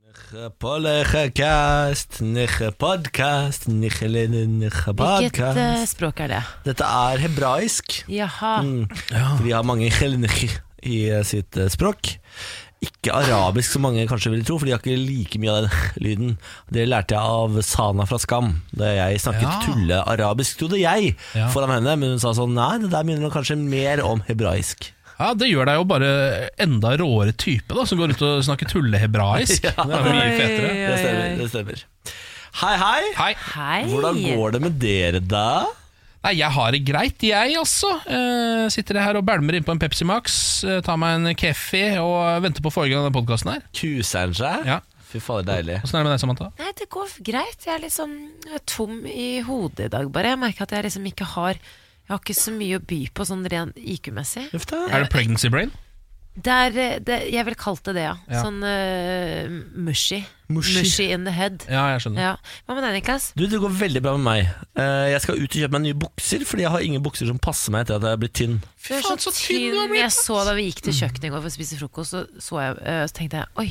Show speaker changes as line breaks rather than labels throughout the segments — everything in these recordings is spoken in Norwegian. Niche Pollechekast, niche podcast, niche lille, niche
Hvilket eh,
podcast.
språk er det?
Dette er hebraisk.
Jaha.
Mm. For de har mange helnicher i eh, sitt eh, språk. Ikke arabisk som mange kanskje ville tro, for de har ikke like mye av den lyden. Det lærte jeg av Sana fra Skam, da jeg snakket
Ja.
tullearabisk, trodde jeg,
Ja.
foran henne. Men hun sa sånn nei, det der minner kanskje mer om hebraisk.
Ja, Det gjør deg jo bare enda råere type, da som går ut og snakker tullehebraisk.
Ja.
Det er jo mye
Oi,
fetere.
oi,
Det stemmer.
oi.
det stemmer Hei, hei!
Hei.
Hei.
Hvordan går det med dere, da?
Nei, jeg har det greit, jeg, altså. Eh, sitter jeg her og bælmer innpå en Pepsi Max, eh, tar meg en keffi og venter på forrige gang av denne podkasten her.
Kuser han seg?
Ja.
Fy fader, deilig.
Åssen er det med deg, Samantha?
Nei, det går greit. Jeg er litt sånn eh, tom i hodet i dag, bare. Jeg merker at jeg liksom ikke har Jeg har ikke så mye å by på sånn ren IQ-messig.
Uff da.
Er det pregnancy brain?
Det er, eh, det, jeg ville kalt det det, ja.
Ja.
Sånn eh, mushy.
Mushy.
Mushy in the head.
Ja, jeg skjønner.
Ja. Hva med deg, Niklas?
Du, Det går veldig bra med meg. Eh, jeg skal ut og kjøpe meg nye bukser, fordi jeg har ingen bukser som passer meg etter at jeg er blitt tynn.
Du er
faen, så tynn du har blitt,
Jeg så da vi gikk til kjøkkenet i går for å spise frokost, så, så, jeg, eh, så tenkte jeg oi,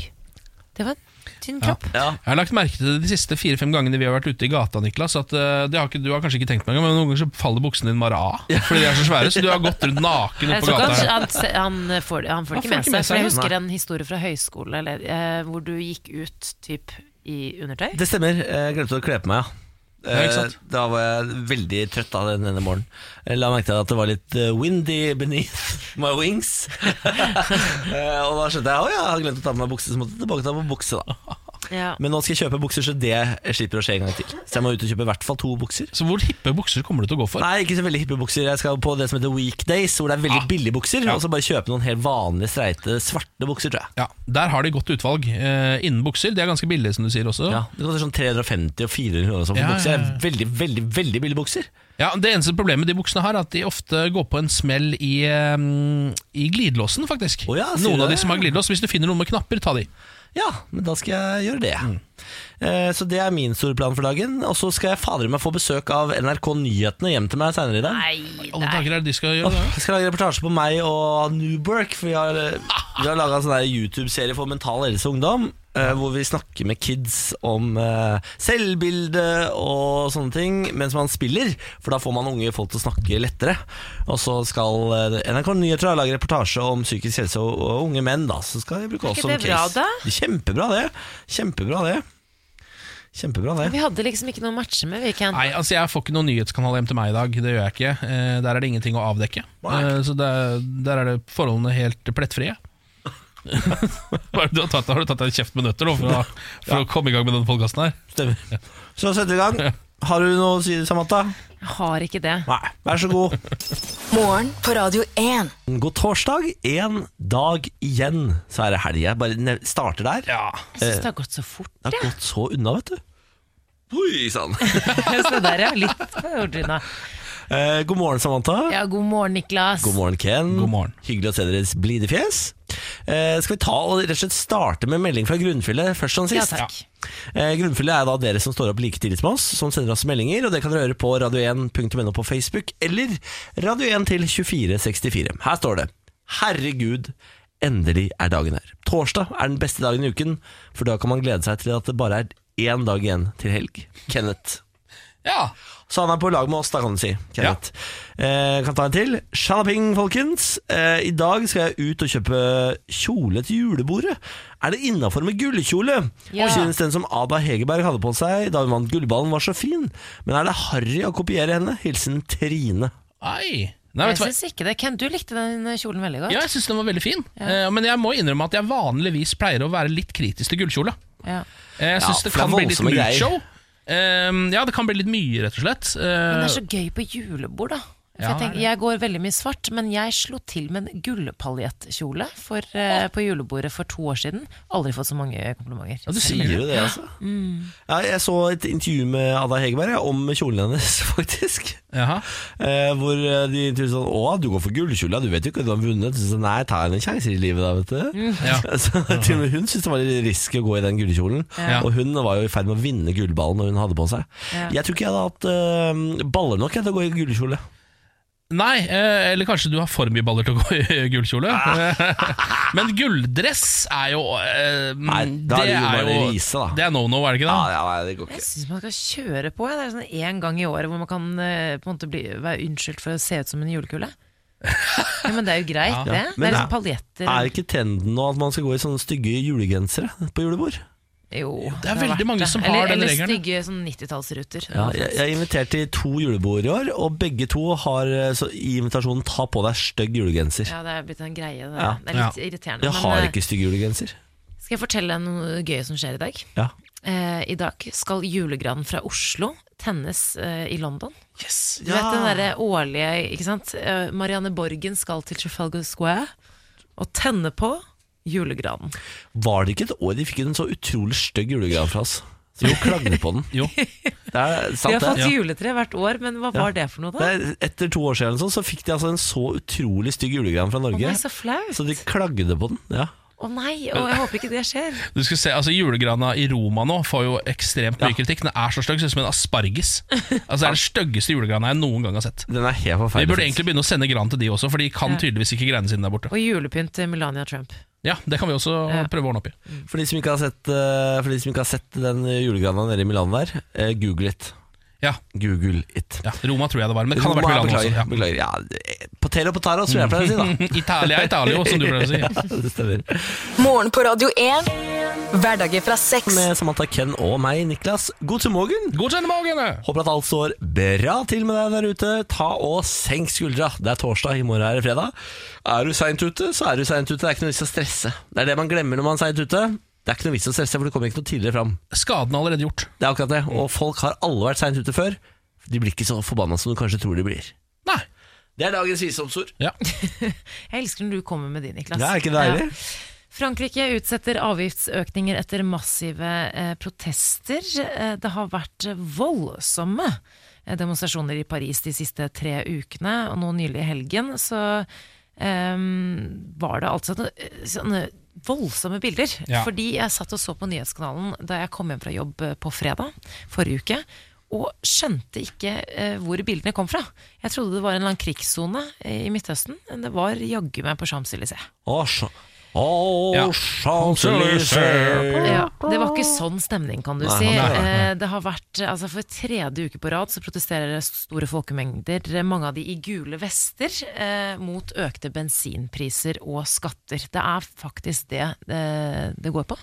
det var en tynn kropp.
Ja,
Jeg har lagt merke til det de siste fire-fem gangene vi har vært ute i gata, Niklas, at eh, det har ikke, du har kanskje ikke tenkt meg engang, men noen ganger så faller buksene dine bare av fordi de er så svære, så du har gått rundt naken
Jeg
ute på
tror
gata.
Eh, kanskje
her.
han, se- han, eh, får, han får
Han
ikke med
får ikke
seg
med seg,
For jeg husker
nei.
en historie fra høyskole eller, eh, hvor du gikk ut typ i undertøy.
Det stemmer. Jeg glemte å kle på meg, ja.
Ja, ikke sant?
Eh, Da var jeg veldig trøtt av den ene morgenen. Jeg la merke til at det var litt eh, windy beneath my wings. Eh, og da skjønte jeg at jeg hadde glemt å ta på meg bukse, så måtte jeg tilbake ta på bukse. da
Ja.
Men nå skal jeg kjøpe bukser, så det slipper å skje en gang til. Så jeg må ut og kjøpe i hvert fall to bukser.
Så hvor hippe bukser kommer du til å gå for?
Nei, ikke så veldig hippe bukser. Jeg skal på det som heter weekdays, hvor det er veldig
Ah.
billige bukser.
Ja.
Og så bare kjøpe noen helt vanlige, streite, svarte bukser, tror jeg.
Ja, Der har de godt utvalg eh, innen bukser. De er ganske billige, som du sier også.
Ja, Det koster sånn 350 og 400 kroner sånn for
Ja, ja,
bukser. Det
ja.
er veldig, veldig veldig billige bukser.
Ja, Det eneste problemet de buksene har, er at de ofte går på en smell i, eh, i glidelåsen, faktisk.
Å ja, sier
noen
du
av de
det?
som har glidelås. Hvis du finner noen med knapper, ta de.
Ja, men da skal jeg gjøre det.
Mm.
Eh, så det er min store plan for dagen. Og så skal jeg fader meg få besøk av NRK Nyhetene hjem til meg seinere i dag.
Nei,
Alle
nei.
dager er det de skal gjøre det.
Jeg skal lage reportasje på meg og Newbork. For vi har, vi har laga en sånn der YouTube-serie for mental helse og ungdom. eh, hvor vi snakker med kids om eh, selvbilde og sånne ting mens man spiller. For da får man unge folk til å snakke lettere. Og så skal eh, NRK Nyheter da lage reportasje om psykisk helse og, og unge menn. da Så skal vi bruke
Er
oss
ikke
som
det bra,
case.
da?
Kjempebra, det. Kjempebra, det. Kjempebra, det.
Vi hadde liksom ikke noe å matche med. Vi kan.
Nei, altså Jeg får ikke noen nyhetskanal hjem til meg i dag. Det gjør jeg ikke. Eh, der er det ingenting å avdekke. Eh, så der, der er det forholdene helt plettfrie. Hva er det du har, tatt, deg? har du tatt deg en kjeft med nøtter nå for å, for å komme i gang med denne podkasten her?
Stemmer. Så setter vi i gang. Har du noe å si, Samantha?
Jeg har ikke det.
Nei. Vær så god.
Morgen på Radio 1.
God torsdag, en dag igjen, så er det helg. Jeg bare nev- starter der.
Jeg syns det har gått så fort.
Det har gått så unna, vet du. Oi sann.
Så det der er litt ordrina.
Eh, god morgen, Samantha.
Ja, god morgen, Niklas.
God morgen, Ken.
God morgen.
Hyggelig å se deres blide fjes. Eh, skal vi ta og rett og slett starte med melding fra grunnfjellet først som
Ja,
sist?
takk.
Eh, Grunnfjellet er da dere som står opp like tidlig som oss, som sender oss meldinger, og det kan dere gjøre på radio1.no på Facebook, eller radio1 til 2464. Her står det Herregud, endelig er dagen her. Torsdag er den beste dagen i uken, for da kan man glede seg til at det bare er én dag igjen til helg. Kenneth.
Ja,
Så han er på lag med oss, da kan du si. Kenneth. Eh, kan ta en til. Shalaping, folkens. Eh, I dag skal jeg ut og kjøpe kjole til julebordet. Er det innafor med gullkjole?
Ja.
Og synes den som Ada Hegerberg hadde på seg da hun vant gullballen, var så fin. Men er det harry å kopiere henne? Hilsen Trine.
Ei. Nei,
Jeg
vet du hva?
syns ikke det. Ken, du likte den kjolen veldig godt.
Ja, jeg syns den var veldig fin. Eh, men jeg må innrømme at jeg vanligvis pleier å være litt kritisk til gullkjole.
Ja.
Eh, jeg syns
Ja,
det
for det er
kan bli litt
voldsomme greier.
mucho. Eh, ja, det kan bli litt mye, rett og slett. Eh,
Men det er så gøy på julebord, da. For jeg,
Ja, det er
tenker,
det.
jeg går veldig mye svart, men jeg slo til med en gullpaljettkjole for, eh, på julebordet for to år siden. Aldri fått så mange komplimenter.
Ja, du sier
Sier du det, altså? Ja, jeg så et intervju med Ada Hegerberg ja, om kjolen hennes, faktisk.
jaha.
Eh, hvor eh, de intervjuet sånn Å, du går for gullkjole, ja, du vet jo ikke at du har vunnet. Så, sånn, Nei, ta en sjanse i livet, da, vet du.
Mm.
Ja.
Så til og med hun syntes det var litt risky å gå i den gullkjolen.
Ja.
Og hun var jo i ferd med å vinne gullballen når hun hadde på seg.
Ja.
Jeg tror ikke jeg hadde hatt eh, baller nok jeg, til å gå i gullkjole.
Nei, eh, eller kanskje du har for mye baller til å gå i gullkjole. Men gulldress er jo eh,
Ah. Nei, da er det jo bare å vise, da.
Det er no no, er det ikke
Ah, Ja,
det?
ja, nei, det går
Jeg
ikke.
syns man skal kjøre på. jeg. Det er sånn én gang i året hvor man kan eh, på en måte bli, være unnskyldt for å se ut som en julekule. Ja, men det er jo greit,
Ja.
det. Det
Men det-
er liksom paljetter.
Er ikke trenden nå at man skal gå i sånne stygge julegensere på julebord?
Jo,
det er
har
veldig
vært
mange
det.
som har
eller,
den
eller
regelen.
Eller stygge sånn 90-tallsruter.
Ja, jeg, jeg er invitert til to julebord i år, og begge to har eh, så, i invitasjonen 'ta på deg stygg julegenser'.
Ja, det er blitt en greie. Det,
Ja.
det er litt
Ja.
irriterende.
Jeg har
eh,
ikke stygg julegenser.
skal jeg fortelle deg noe gøy som skjer i dag?
Ja.
Eh, I dag skal julegranen fra Oslo tennes eh, i London.
Yes.
Du vet den derre årlige, ikke sant? Eh, Marianne Borgen skal til Trafalgar Square og tenne på julegranen.
Var det ikke et år de fikk en så utrolig stygg julegran fra oss? Så vi klagde på den.
Jo.
Det er
Vi
sant,
har fått
det.
juletre hvert år, men hva var det for noe,
det
da?
er, etter to år siden eller sånn, så fikk de altså en så utrolig stygg julegran fra
Å
Norge.
nei, så flaut!
Så de klagde på den. Ja.
Å nei, og jeg håper ikke det skjer.
Du skal se, altså Julegrana i Roma nå får jo ekstremt mye kritikk. Den er så stygg, ser ut som en asparges. Altså Det er den styggeste julegrana jeg noen gang har sett.
Den er helt
Vi
forferdelig.
burde egentlig begynne å sende gran til de også, for de kan tydeligvis ikke greiene sine der borte.
Og julepynt til Melania Trump.
Ja, Det kan vi også
Ja.
prøve å ordne opp i.
For de som ikke har sett, eh, for de som ikke har sett den julegrana nede i Milano der, eh, google it.
Ja,
Google it.
ja Roma tror jeg det var, men det kan ha vært
Roma,
Milano også.
beklager,
Ja.
Beklager. Ja, eh, Potello potaro, som jeg pleier å si, da.
Italia, Italio, som du pleier å si.
Ja, det stemmer.
Morgen på Radio 1. Hverdager fra seks.
Med Samantha Ken og meg, Niklas. God til morgen.
God søndag, morgen!
Håper at alt står bra til med deg der ute. Ta og senk skuldra. Det er torsdag, i morgen er det fredag. Er du seint ute, så er du seint ute. Det er ikke noe vits å stresse. Det er det man glemmer når man er seint ute. Det er ikke noe vits å stresse, for du kommer ikke noe tidligere fram.
Skaden er allerede gjort.
Det er akkurat det. Og folk har alle vært seint ute før. De blir ikke så forbanna som du kanskje tror de blir.
Nei.
Det er dagens visdomsord.
Ja.
Jeg elsker når du kommer med de, Niklas.
Det er ikke deilig.
Ja. Frankrike utsetter avgiftsøkninger etter massive eh, protester. Eh, det har vært eh, voldsomme eh, demonstrasjoner i Paris de siste tre ukene, og nå nylig i helgen så eh, var det altså noe- sånne voldsomme bilder.
Ja.
Fordi jeg satt og så på nyhetskanalen da jeg kom hjem fra jobb eh, på fredag forrige uke. Og skjønte ikke eh, hvor bildene kom fra. Jeg trodde det var en eller annen krigssone eh, i Midtøsten. Men det var jaggu meg på Champs-Élysées.
Å, sj- å,
Ja.
Champs-Élysées.
Ja, det var ikke sånn stemning, kan du
Nei,
si.
nei, nei,
Eh, Det har vært, altså For tredje uke på rad så protesterer det store folkemengder, eh, mange av de i gule vester, eh, mot økte bensinpriser og skatter. Det er faktisk det eh, det går på.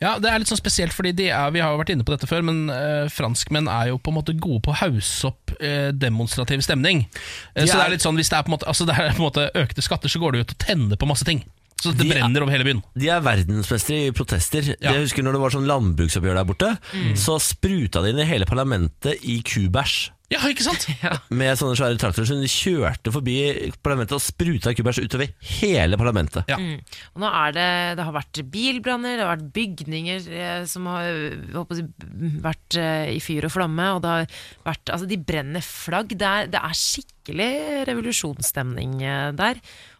ja, Det er litt sånn spesielt, fordi de er, vi har jo vært inne på dette før, men eh, franskmenn er jo på en måte gode på å hausse opp eh, demonstrativ stemning. Eh,
De
så
er-
det er litt sånn, Hvis det er, på en måte, altså det er på en måte økte skatter, så går det jo til å tenne på masse ting. Så det
De er-
brenner over hele byen.
De er verdensmestere i protester.
Ja. Mm.
Jeg husker når det var sånn landbruksoppgjør der borte, så spruta de inn i hele parlamentet i kubæsj.
Ja, ikke sant?
Med sånne svære traktorer som de kjørte forbi parlamentet og spruta kubæsj utover hele parlamentet.
Ja.
Og nå er det, det har vært bilbranner, det har vært bygninger eh, som har jeg håper å si, vært eh, i fyr og flamme. Og det har vært, altså de brenner flagg. Det er, det er skikkelig revolusjonsstemning eh, der.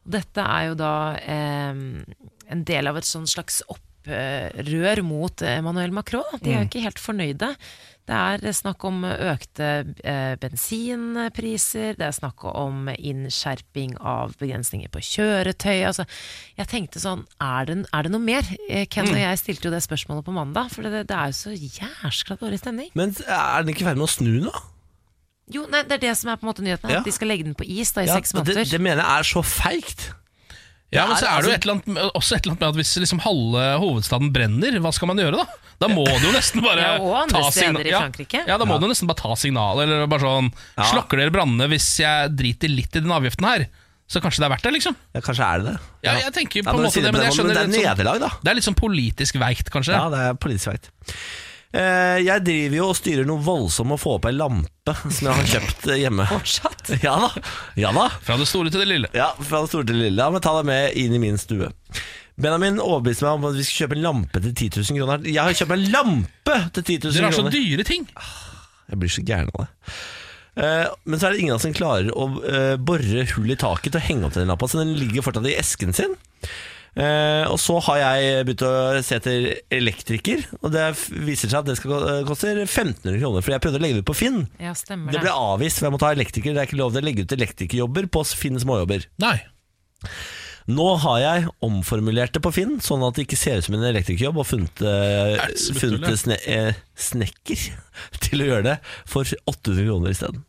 Og dette er jo da eh, en del av et sånn slags opprør eh, mot Emmanuel Macron. De
Mm.
er jo ikke helt fornøyde. Det er snakk om økte eh, bensinpriser, det er snakk om innskjerping av begrensninger på kjøretøy. Altså, jeg tenkte sånn, er det, er det noe mer? Eh, Ken
Mm.
og jeg stilte jo det spørsmålet på mandag, for det, det er jo så jæskla dårlig stemning.
Men er den ikke i ferd med å snu nå?
Jo, nei, det er det som er på en måte nyheten.
Ja.
At de skal legge den på is da i
Ja,
seks måneder.
det, det mener jeg er så feigt.
Ja, men
Det er-
så er det jo
altså-
et eller annet, med- også et eller annet med at hvis liksom halve hovedstaden brenner, hva skal man gjøre da? Da må du jo nesten bare
Ja, og andre
ta
steder
signa-
i
ja.
Frankrike.
Ja, da må du nesten bare ta signalet, eller bare sånn Slokker dere brannene hvis jeg driter litt i den avgiften her? Så kanskje det er verdt det, liksom?
Ja, kanskje er det det.
Ja, jeg tenker
Ja,
på en
når du
måte
sier på
det, men jeg
den måten,
skjønner
det er
litt sånn,
nederlag, da.
det er litt sånn politisk veikt, kanskje.
Ja, det er politisk veit. Eh, jeg driver jo og styrer noe voldsomt med å få opp ei lampe som jeg har kjøpt eh, hjemme. Fortsatt? Ja da. Ja da.
Fra det store til det lille.
Ja, fra det store til det lille. Ja, men ta deg med inn i min stue. Benjamin overbeviste meg om at vi skal kjøpe en lampe til 10 000 kroner. Jeg har kjøpt en lampe til 10
Dere
000
har så
kroner!
dyre ting.
Jeg blir så gæren av det. Eh, men så er det ingen av oss som klarer å eh, bore hull i taket til å henge opp den lampa, så den ligger fortsatt i esken sin. Eh, og så har jeg begynt å se etter elektriker, og det f- viser seg at det skal ko- eh, koster 1500 kroner. For jeg prøvde å legge det ut på Finn.
Ja, stemmer
Det
det.
ble avvist, for jeg må ta elektriker. Det er ikke lov til å legge ut elektrikerjobber på Finn småjobber.
Nei.
Nå har jeg omformulert det på Finn, sånn at det ikke ser ut som en elektrikerjobb, og funnet, eh,
Ertsmutthull,
funnet
ja.
en sne, eh, snekker til å gjøre det for 800 kroner isteden.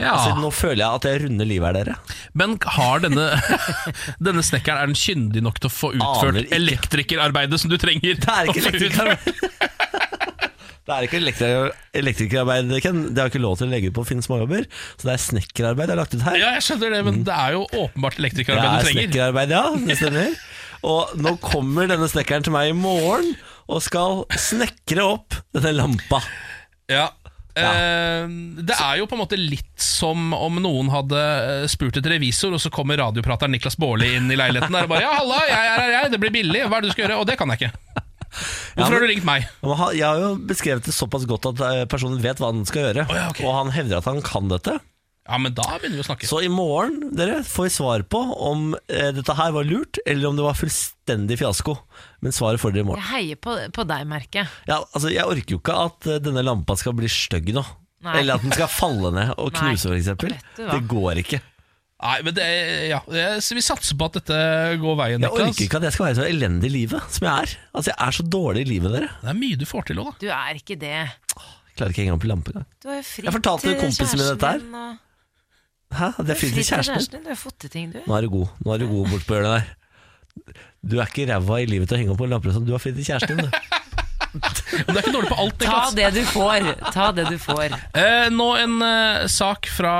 Ja.
Altså, nå føler jeg at jeg runder livet her, dere.
Men har denne, denne snekkeren Er den kyndig nok til å få
Aner
utført
ikke.
elektrikerarbeidet som du trenger?
Det er ikke
å få utført?
elektrikerarbeid. Det er ikke elektriker- elektrikerarbeid, Ken. Det har ikke lov til å legge ut på Finn småjobber. Så det er snekkerarbeid jeg har lagt ut her.
Ja, jeg skjønner det, men det er jo åpenbart
det
elektrikerarbeid
er
du trenger.
snekkerarbeid, ja. Det stemmer. Og nå kommer denne snekkeren til meg i morgen og skal snekre opp denne lampa.
Ja. Eh, det er jo på en måte litt som om noen hadde eh, spurt etter revisor, og så kommer radioprateren Niklas Baarli inn i leiligheten der og bare 'Ja, halla, jeg er her, jeg. Det blir billig. Hva er det du skal gjøre?' Og det kan jeg ikke. Hvorfor
men-
har du ringt meg?
Og han- Jeg har jo beskrevet det såpass godt at eh, personen vet hva han skal gjøre.
Å ja, ok.
Og han hevder at han kan dette.
Ja, men da begynner vi å snakke.
Så i morgen dere får vi svar på om eh, dette her var lurt, eller om det var fullstendig fiasko. Men svaret får dere i morgen.
Jeg heier på, på deg, merker jeg.
Ja, altså Jeg orker jo ikke at eh, denne lampa skal bli stygg nå.
Nei.
Eller at den skal falle ned og
Nei.
knuse, f.eks.
Vet du hva?
Det går ikke.
Nei, men det, ja, jeg- så vi satser på at dette går
Jeg
veien, Niklas.
orker ikke at jeg skal være så elendig i livet som jeg er. Altså Jeg er så dårlig i livet, dere.
Det er mye du får til òg, da.
Du er ikke det.
Jeg klarer ikke engang på lampe engang.
Du har jo fritt
Jeg fortalte
til
kompisen min
kjæresten
dette her.
din, og-
Hæ? Det
Du
er fint
har fritt
til
til
kjæresten.
kjæresten din. Du har fått til ting, du.
Nå er du god Nå er du god bort på hjørnet der. Du er ikke ræva i livet til å henge opp på lamper som du har fri til kjæresten din. du.
Men det er ikke dårlig på alt,
Ta
Niklas.
det du får. Ta det du får.
Eh, nå en eh, sak fra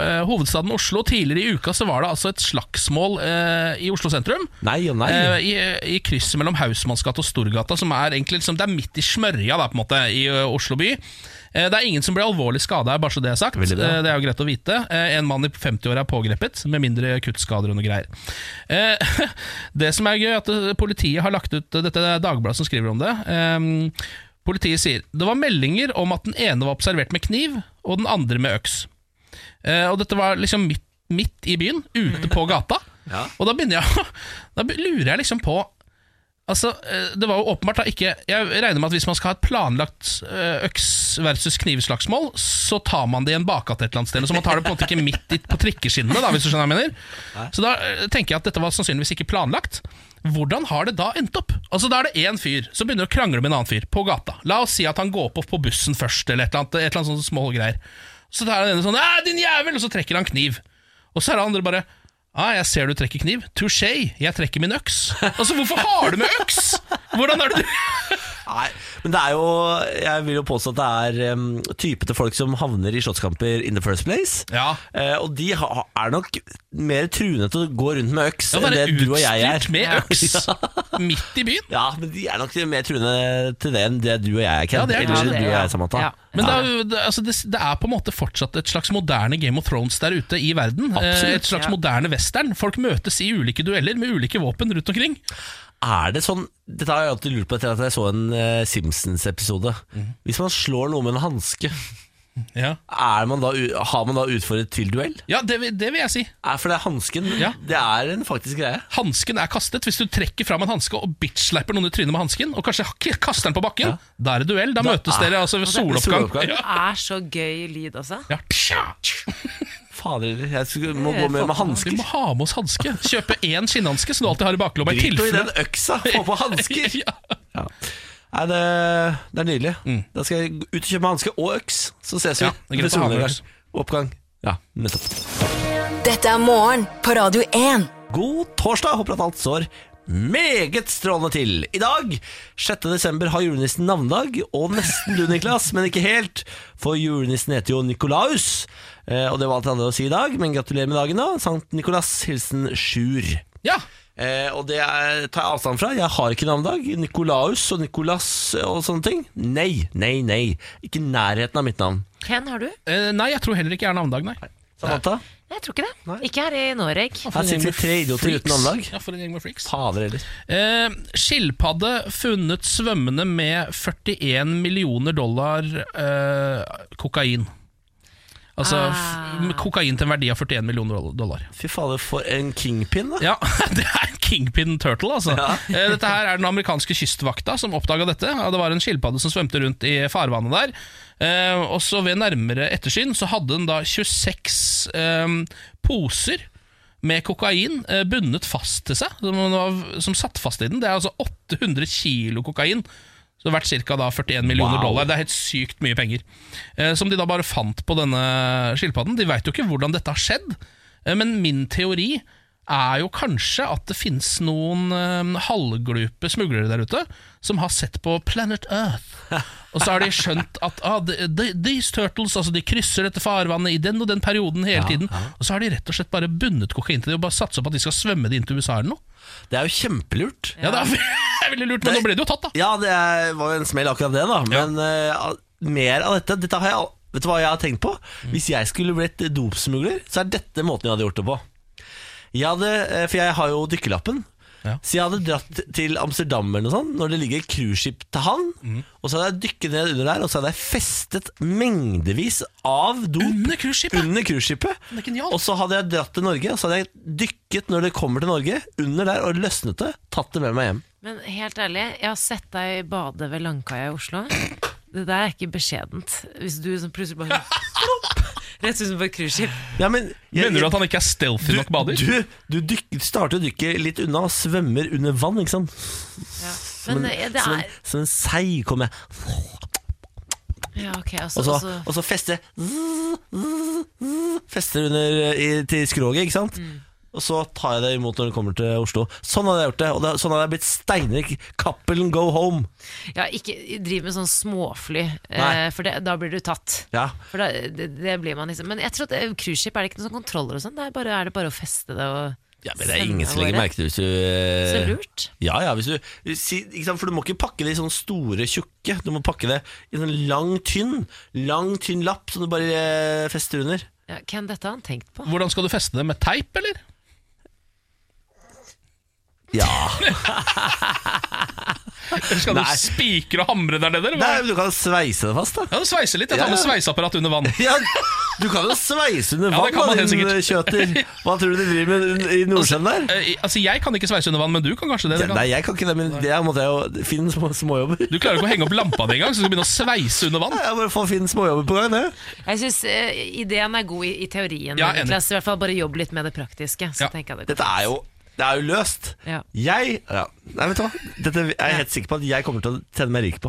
eh, hovedstaden Oslo. Tidligere i uka så var det altså et slagsmål eh, i Oslo sentrum.
Nei og nei.
Eh, I i krysset mellom Hausmannsgata og Storgata, som er egentlig liksom, det er midt i smørja da, på en måte, i ø, Oslo by. Eh, det er ingen som ble alvorlig skada, bare så det er sagt.
Veldig bra.
Eh, det er jo greit å vite. Eh, en mann i 50-åra er pågrepet, med mindre kuttskader og noe greier. Eh, det som er gøy, er at eh, politiet har lagt ut eh, Dette er Dagbladet som skriver om det. Eh, politiet sier det var meldinger om at den ene var observert med kniv, og den andre med øks. Eh, og dette var liksom midt, midt i byen, ute på gata.
Ja.
Og da begynner jeg Da be- lurer jeg liksom på Altså, eh, Det var jo åpenbart da ikke Jeg regner med at hvis man skal ha et planlagt eh, øks versus knivslagsmål, så tar man det i en bakgate et eller annet sted. Så man tar det på en måte ikke midt i, på trikkeskinnene, da, hvis du skjønner hva jeg mener. Så da eh, tenker jeg at dette var sannsynligvis ikke planlagt. Hvordan har det da endt opp? Altså Da er det én fyr som begynner å krangle med en annen fyr på gata. La oss si at han går på på bussen først, eller et eller annet, et eller annet sånne små greier. Så tar han denne sånn «Æ, din jævel!' Og så trekker han kniv. Og så er det andre bare ah, 'Jeg ser du trekker kniv. Touché, jeg trekker min øks'. Altså, hvorfor har du med øks?! Hvordan er det du
Nei, men det er jo Jeg vil jo påstå at det er um, type til folk som havner i slåsskamper in the first place.
Ja.
Eh, og de ha, er nok mer truende til å gå rundt med øks
Ja,
enn
være
det du og jeg er.
utstyrt med øks midt i byen.
Ja, men de er nok mer truende til det enn det du og jeg er, Ken.
Ja, det er
Eller
kanskje
du
det,
og
ja.
jeg, Samantha.
Ja.
Men det er, jo- det, altså det, det er på en måte fortsatt et slags moderne Game of Thrones der ute i verden. Eh,
Absolutt,
Et slags
ja.
moderne western. Folk møtes i ulike dueller med ulike våpen rundt omkring.
Er det sånn Dette har jeg alltid lurt på etter at jeg så en eh, Simpsons-episode.
Mhm.
Hvis man slår noe med en hanske,
Ja,
har man da utfordret til duell?
ja det, vil- det vil jeg si.
Er for det er hansken.
Ja.
Det er en faktisk greie.
Hansken er kastet. Hvis du trekker fram en hanske og bitch-slapper noen i trynet med hansken, og kanskje k- kaster den på bakken, da er det duell. Da, møtes dere altså ved soloppgang.
soloppgang.
Ja.
Det er så gøy lyd, altså.
Ja. Psja!
Fader, jeg skulle- må gå med, med
Vi
hansker.
må ha med oss hanske. Kjøpe én skinnhanske som du alltid har i baklomma. i
Drit nå i den
tilfelle
øksa, få på hansker!
Ja. Mm.
Ja. Nei, det, det er nydelig. Da skal jeg ut og kjøpe hanske og øks, så ses vi.
Ja, det er greit å ha med øks.
Oppgang. Ja, nettopp.
Dette er morgen på Radio 1.
God torsdag, håper at alt står meget strålende til. I dag, 6. desember, har julenissen navnedag, og nesten du, Niklas, men ikke helt, for julenissen heter jo Nikolaus, eh, og det var alt jeg hadde å si i dag, men gratulerer med dagen da, Sankt Nikolas, hilsen Sjur.
ja.
Eh, og det er, tar jeg avstand fra, jeg har ikke navnedag, Nikolaus og Nikolas og sånne ting. Nei, nei, nei, ikke i nærheten av mitt navn.
Ken, har du?
Eh, Nei, jeg tror heller ikke jeg er navnedag, nei.
Samantha,
Nei, jeg tror ikke det. Ikke her i Norge.
her sitter vi tre idioter uten navnedag.
Ja, for en gjeng med freaks.
Fader heller.
Eh, skilpadde funnet svømmende med 41 millioner dollar eh, kokain. Altså
Ah.
f- kokain til en verdi av 41 millioner doll- dollar.
Fy fader, for en kingpin, da.
Ja, det er en kingpin turtle, altså. Eh, Dette her er den amerikanske kystvakta som oppdaga dette. Ja, Det var en skilpadde som svømte rundt i farvannet der. Eh, Og så ved nærmere ettersyn så hadde den da 26 eh, poser med kokain eh, bundet fast til seg, som, den var- som satt fast i den. Det er altså 800 kilo kokain. Så verdt ca. 41 millioner
Wow.
dollar. Det er helt sykt mye penger. Eh, som de da bare fant på denne skilpadden. De veit jo ikke hvordan dette har skjedd, eh, men min teori er jo kanskje at det fins noen eh, halvglupe smuglere der ute som har sett på Planet Earth. Og så har de skjønt at ah, the- the- these turtles altså de krysser dette farvannet i den og den perioden hele tiden. Og så har de rett og slett bare bundet kokain til det og bare satsa på at de skal svømme det inn til USA eller noe.
Det er jo kjempelurt.
Ja, det er veldig lurt, men nå ble det jo tatt, da.
Ja, det er, var jo en smell akkurat det, da. Men eh, al- mer av dette, dette har jeg, al- Vet du hva jeg har tenkt på?
Mm.
Hvis jeg skulle blitt dopsmugler, så er dette måten jeg hadde gjort det på. Jeg hadde, eh, for jeg har jo dykkerlappen.
Ja.
Så jeg hadde dratt til Amsterdam eller noe sånt, når det ligger et cruiseskip til havn.
Mm.
Og så hadde jeg dykket ned under der, og så hadde jeg festet mengdevis av dop
Under cruiseskipet!
under cruiseskipet.
Det er genialt.
Og så hadde jeg dratt til Norge, og så hadde jeg dykket når det kommer til Norge, under der, og løsnet det, tatt det med meg hjem.
Men helt ærlig, jeg har sett deg bade ved Langkaia i Oslo. Det der er ikke beskjedent. Hvis du som plutselig bare Rett ut som på et cruiseskip.
Ja, men, jeg-
Mener du at han ikke er stealthy nok bader?
Du, du dykker, starter å dykke litt unna og svømmer under vann, ikke sant?
Ja.
Som
Men
en,
eh, det
som en,
er
som en sei kommer jeg,
Ja, ok.
og
Altså,
så,
altså,
og så fester Fester under eh, i, til skroget, ikke sant?
Mm.
Og så tar jeg det imot når det kommer til Oslo. Sånn hadde jeg gjort det. Og da, sånn hadde jeg blitt steinrik. Cappelen go home.
ja, ikke driv med sånn småfly, eh,
Nei.
for det, da blir du tatt.
Ja.
For da, det, det blir man liksom Men jeg tror at eh, cruiseskip er det ikke noen sånn kontroller og sånn. Det er bare, er det bare å feste det og
ja, men det er ingen som legger merke til hvis eh,
Så
du
lurt.
Ja, ja, hvis du, si- ikke sant? For du må ikke pakke det i sånne store, tjukke. Du må pakke det i en lang, tynn Lang, tynn lapp som du bare eh, fester under.
Ja, Ken, dette har han tenkt på.
Hvordan skal du feste det? Med teip, eller?
Ja
Eller skal
Nei.
du spikre og hamre der nede? eller hva?
Nei, men Du kan sveise det fast, da.
Ja, du sveiser litt. Jeg tar med
Ja, ja.
sveiseapparat under vann.
Ja, du kan jo sveise under
Ja, det
vann,
kan man
da,
helt
din
sikkert.
kjøter. Hva tror du de driver med i Nordsjøen der?
Eh, i- altså, Jeg kan ikke sveise under vann, men du kan kanskje det? det
Nei,
kan.
jeg kan ikke det, men der måtte jeg jo finne små, småjobber.
Du klarer jo ikke å henge opp lampa di engang, så du skal begynne å sveise under vann.
Jeg bare får finne småjobber på gang, det.
Jeg syns ideen er god i, i teorien.
Ja, enig.
Niklas, I hvert fall bare jobb litt med det praktiske. Så
Ja.
tenker jeg det går.
Dette er jo det er jo løst.
Ja.
Jeg ja. Nei, vet du hva? Dette er jeg helt sikker på at jeg kommer til å tjene meg rik på.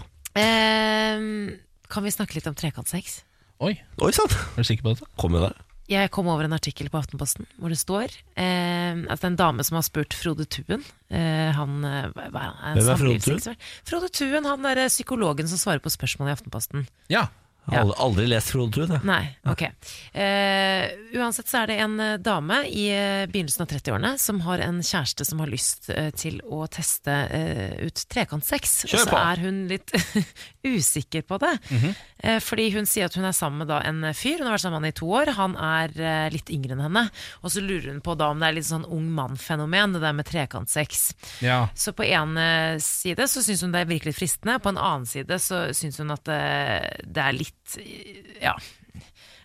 Ehm, kan vi snakke litt om trekantsex?
Oi,
Oi sann!
er du sikker på dette?
Kom med det.
Jeg kom over en artikkel på Aftenposten hvor det står ehm, at det er en dame som har spurt Frode Tuen eh, han, eh, hva- hva er han?
Hvem er Frode Tuen?
Samlivsekspert. Frode Tuen, han er eh, psykologen som svarer på spørsmål i Aftenposten.
Ja,
Jeg har aldri, aldri lest Frode Tun, jeg.
Nei, ok. Eh, uansett så er det en eh, dame i eh, begynnelsen av 30-årene som har en kjæreste som har lyst eh, til å teste eh, ut trekantsex. Og
Kjør
så
på. Mhm.
er hun litt usikker på det. eh, fordi hun sier at hun er sammen med da, en fyr, hun har vært sammen med han i to år, han er eh, litt yngre enn henne. Og så lurer hun på da om det er litt sånn ung mann-fenomen, det der med trekantsex.
ja.
Så på en eh, side så syns hun det er virkelig fristende, på en annen side så syns hun at eh, det er litt eh, Ja.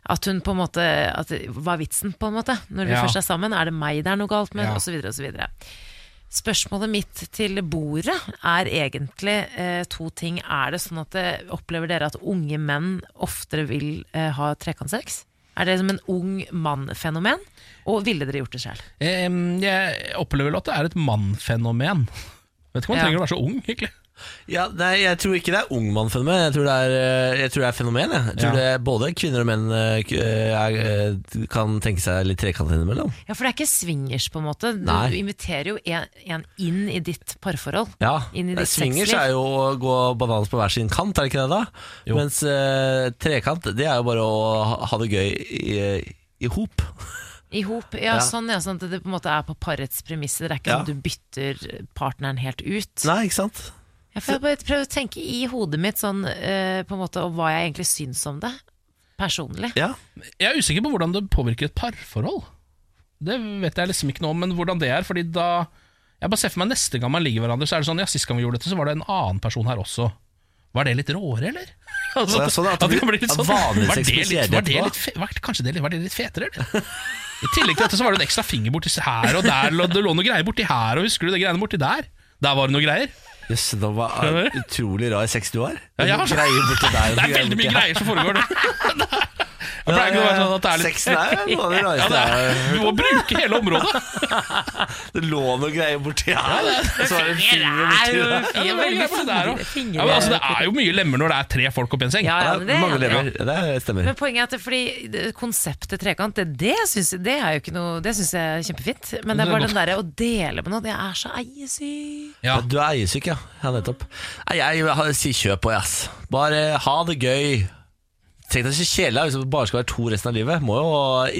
At hun på en måte at, Hva er vitsen, på en måte? Når vi
Ja.
først er sammen, er det meg det er noe galt med?
Ja.
Og så videre og så videre. Spørsmålet mitt til bordet er egentlig eh, to ting. Er det sånn at eh, opplever dere at unge menn oftere vil eh, ha trekantsex? Er det som en ung mann-fenomen? Og ville dere gjort det selv?
Em, Jeg opplever vel at det er et mannfenomen. Vet ikke om man
Ja.
trenger å være så ung, egentlig.
Ja, nei, jeg tror ikke det er ungmann-fenomen. Jeg, tror det er, eh, jeg tror det er fenomen. Jeg, jeg tror
Ja.
det både kvinner og menn eh, k- eh, er, eh, kan tenke seg litt trekant innimellom.
Ja, for det er ikke swingers, på en måte. Du,
Nei.
du inviterer jo en, en inn i ditt parforhold.
Ja,
Inn i
Nei,
ditt
Swingers
sexliv.
er jo å gå bananas på hver sin kant, er det ikke det da?
Jo.
Mens eh, trekant, det er jo bare å ha- ha det gøy i, i hop.
I hop. Ja,
Ja.
sånn, ja, sånn at det på en måte er på parets premisser. Det er ikke
Ja.
sånn at du bytter partneren helt ut.
Nei, ikke sant?
Jeg får bare prøve å tenke i hodet mitt sånn, eh, på en måte, og hva jeg egentlig syns om det. Personlig.
Ja,
Jeg er usikker på hvordan det påvirker et parforhold. Det vet jeg liksom ikke noe om, men hvordan det er. Fordi da Jeg bare ser for meg neste gang man ligger hverandre, så er det sånn Ja, sist gang vi gjorde dette, så var det en annen person her også. Var det litt råere, eller? Altså,
Og jeg så det, at det
at det kan
blir-
bli litt
at
sånn
vanlig
var det
seksuell
litt, var det
kjedelighet
litt, fe- var, Kanskje det litt- var det litt fetere, eller? I tillegg til dette så var det en ekstra finger borti her og der, og det lå noe greier borti her, og husker du det greiene borti der? Der var det noe greier.
Jøss, det var
Skjønner du?
utrolig rar sex du har.
Ja, jeg har-
Greier borti der og
Det er
greier
veldig
borti her.
mye greier som foregår nå. Det er- Jeg pleier ikke å være sånn at det er litt
Sexen er noe av det
ja, det
rareste jeg
er, Du må bruke hele området.
Det lå noe greier borti her, og så var det en finger borti
Fingre
der.
Ja, det, er
veldig
greier borti der også.
fingre-
ja, men, altså, det er jo mye lemmer når det er tre folk oppi en seng.
Ja, ja, men
Det er mange
det,
lever. Det stemmer.
Men poenget er at det, fordi det- konseptet trekant, det, det syns det er jo ikke noe Det syns jeg er kjempefint. Men det
Det
er
er
bare
godt.
den derre å dele med noe, det er så eiesykt.
Ja.
Du er eiesyk, ja. Ja, nettopp. Nei, jeg har- sier kjøp på, ass. Bare ha det gøy. Tenk deg så kjedelig hvis det bare skal være to resten av livet. Må jo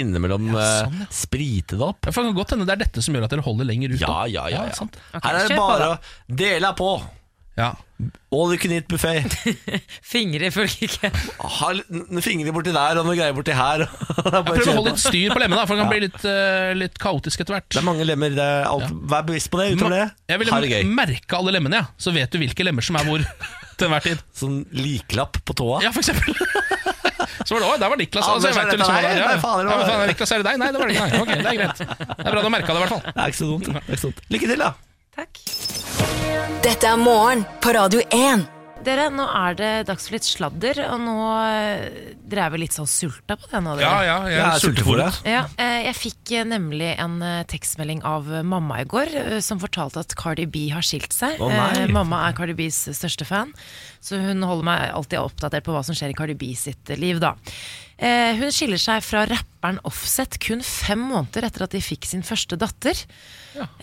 innimellom
Ja, sånn, ja.
eh, sprite det opp.
Ja, for Det kan godt hende det er dette som gjør at dere holder lenger ut.
Ja,
da.
ja, ja. ja.
sant.
Ok,
Her er det
kjør på,
bare å dele på.
Ja.
All you can eat buffé.
Fingre følger ikke.
Ha litt- noen fingre borti der og noen greier borti her. Det er, bare
Prøv å
kjør
holde
på.
litt styr på lemmene, da, for den kan bli litt, eh, litt kaotisk etter hvert.
det er mange lemmer. Det er alt. Vær bevisst på det utover det. ha
Jeg
det
ville
gøy.
merke alle lemmene, ja. så vet du hvilke lemmer som er hvor til enhver tid.
Sånn liklapp på tåa.
Ja, for eksempel. Så var det, Å, der var Niklas.
Ja,
Altså, jeg
men så er
vet jo
dette
liksom hva det
deg.
er. Ja,
Nei, faen, det
ja,
var-
men faen, er det Niklas, er det deg? Nei, det var det ikke. Nei. Ok, det er greit. Det er bra du har merka det, i hvert fall.
Det er ikke så dumt. Det er ikke så dumt. Lykke til, da.
Takk.
Dette er morgen på Radio 1.
Dere, nå er det dags for litt sladder, og nå eh, Dere er vel litt sånn sulta på det nå, dere?
ja,
Jeg er sultefòret.
Ja, eh, jeg fikk eh, nemlig en eh, tekstmelding av eh, mamma i går eh, som fortalte at Cardi B har skilt seg.
Å, nei.
Eh, Mamma er Cardi Bs største fan, så hun holder meg alltid oppdatert på hva som skjer i Cardi B sitt eh, liv. da. Eh, Hun skiller seg fra rapperen Offset kun fem måneder etter at de fikk sin første datter.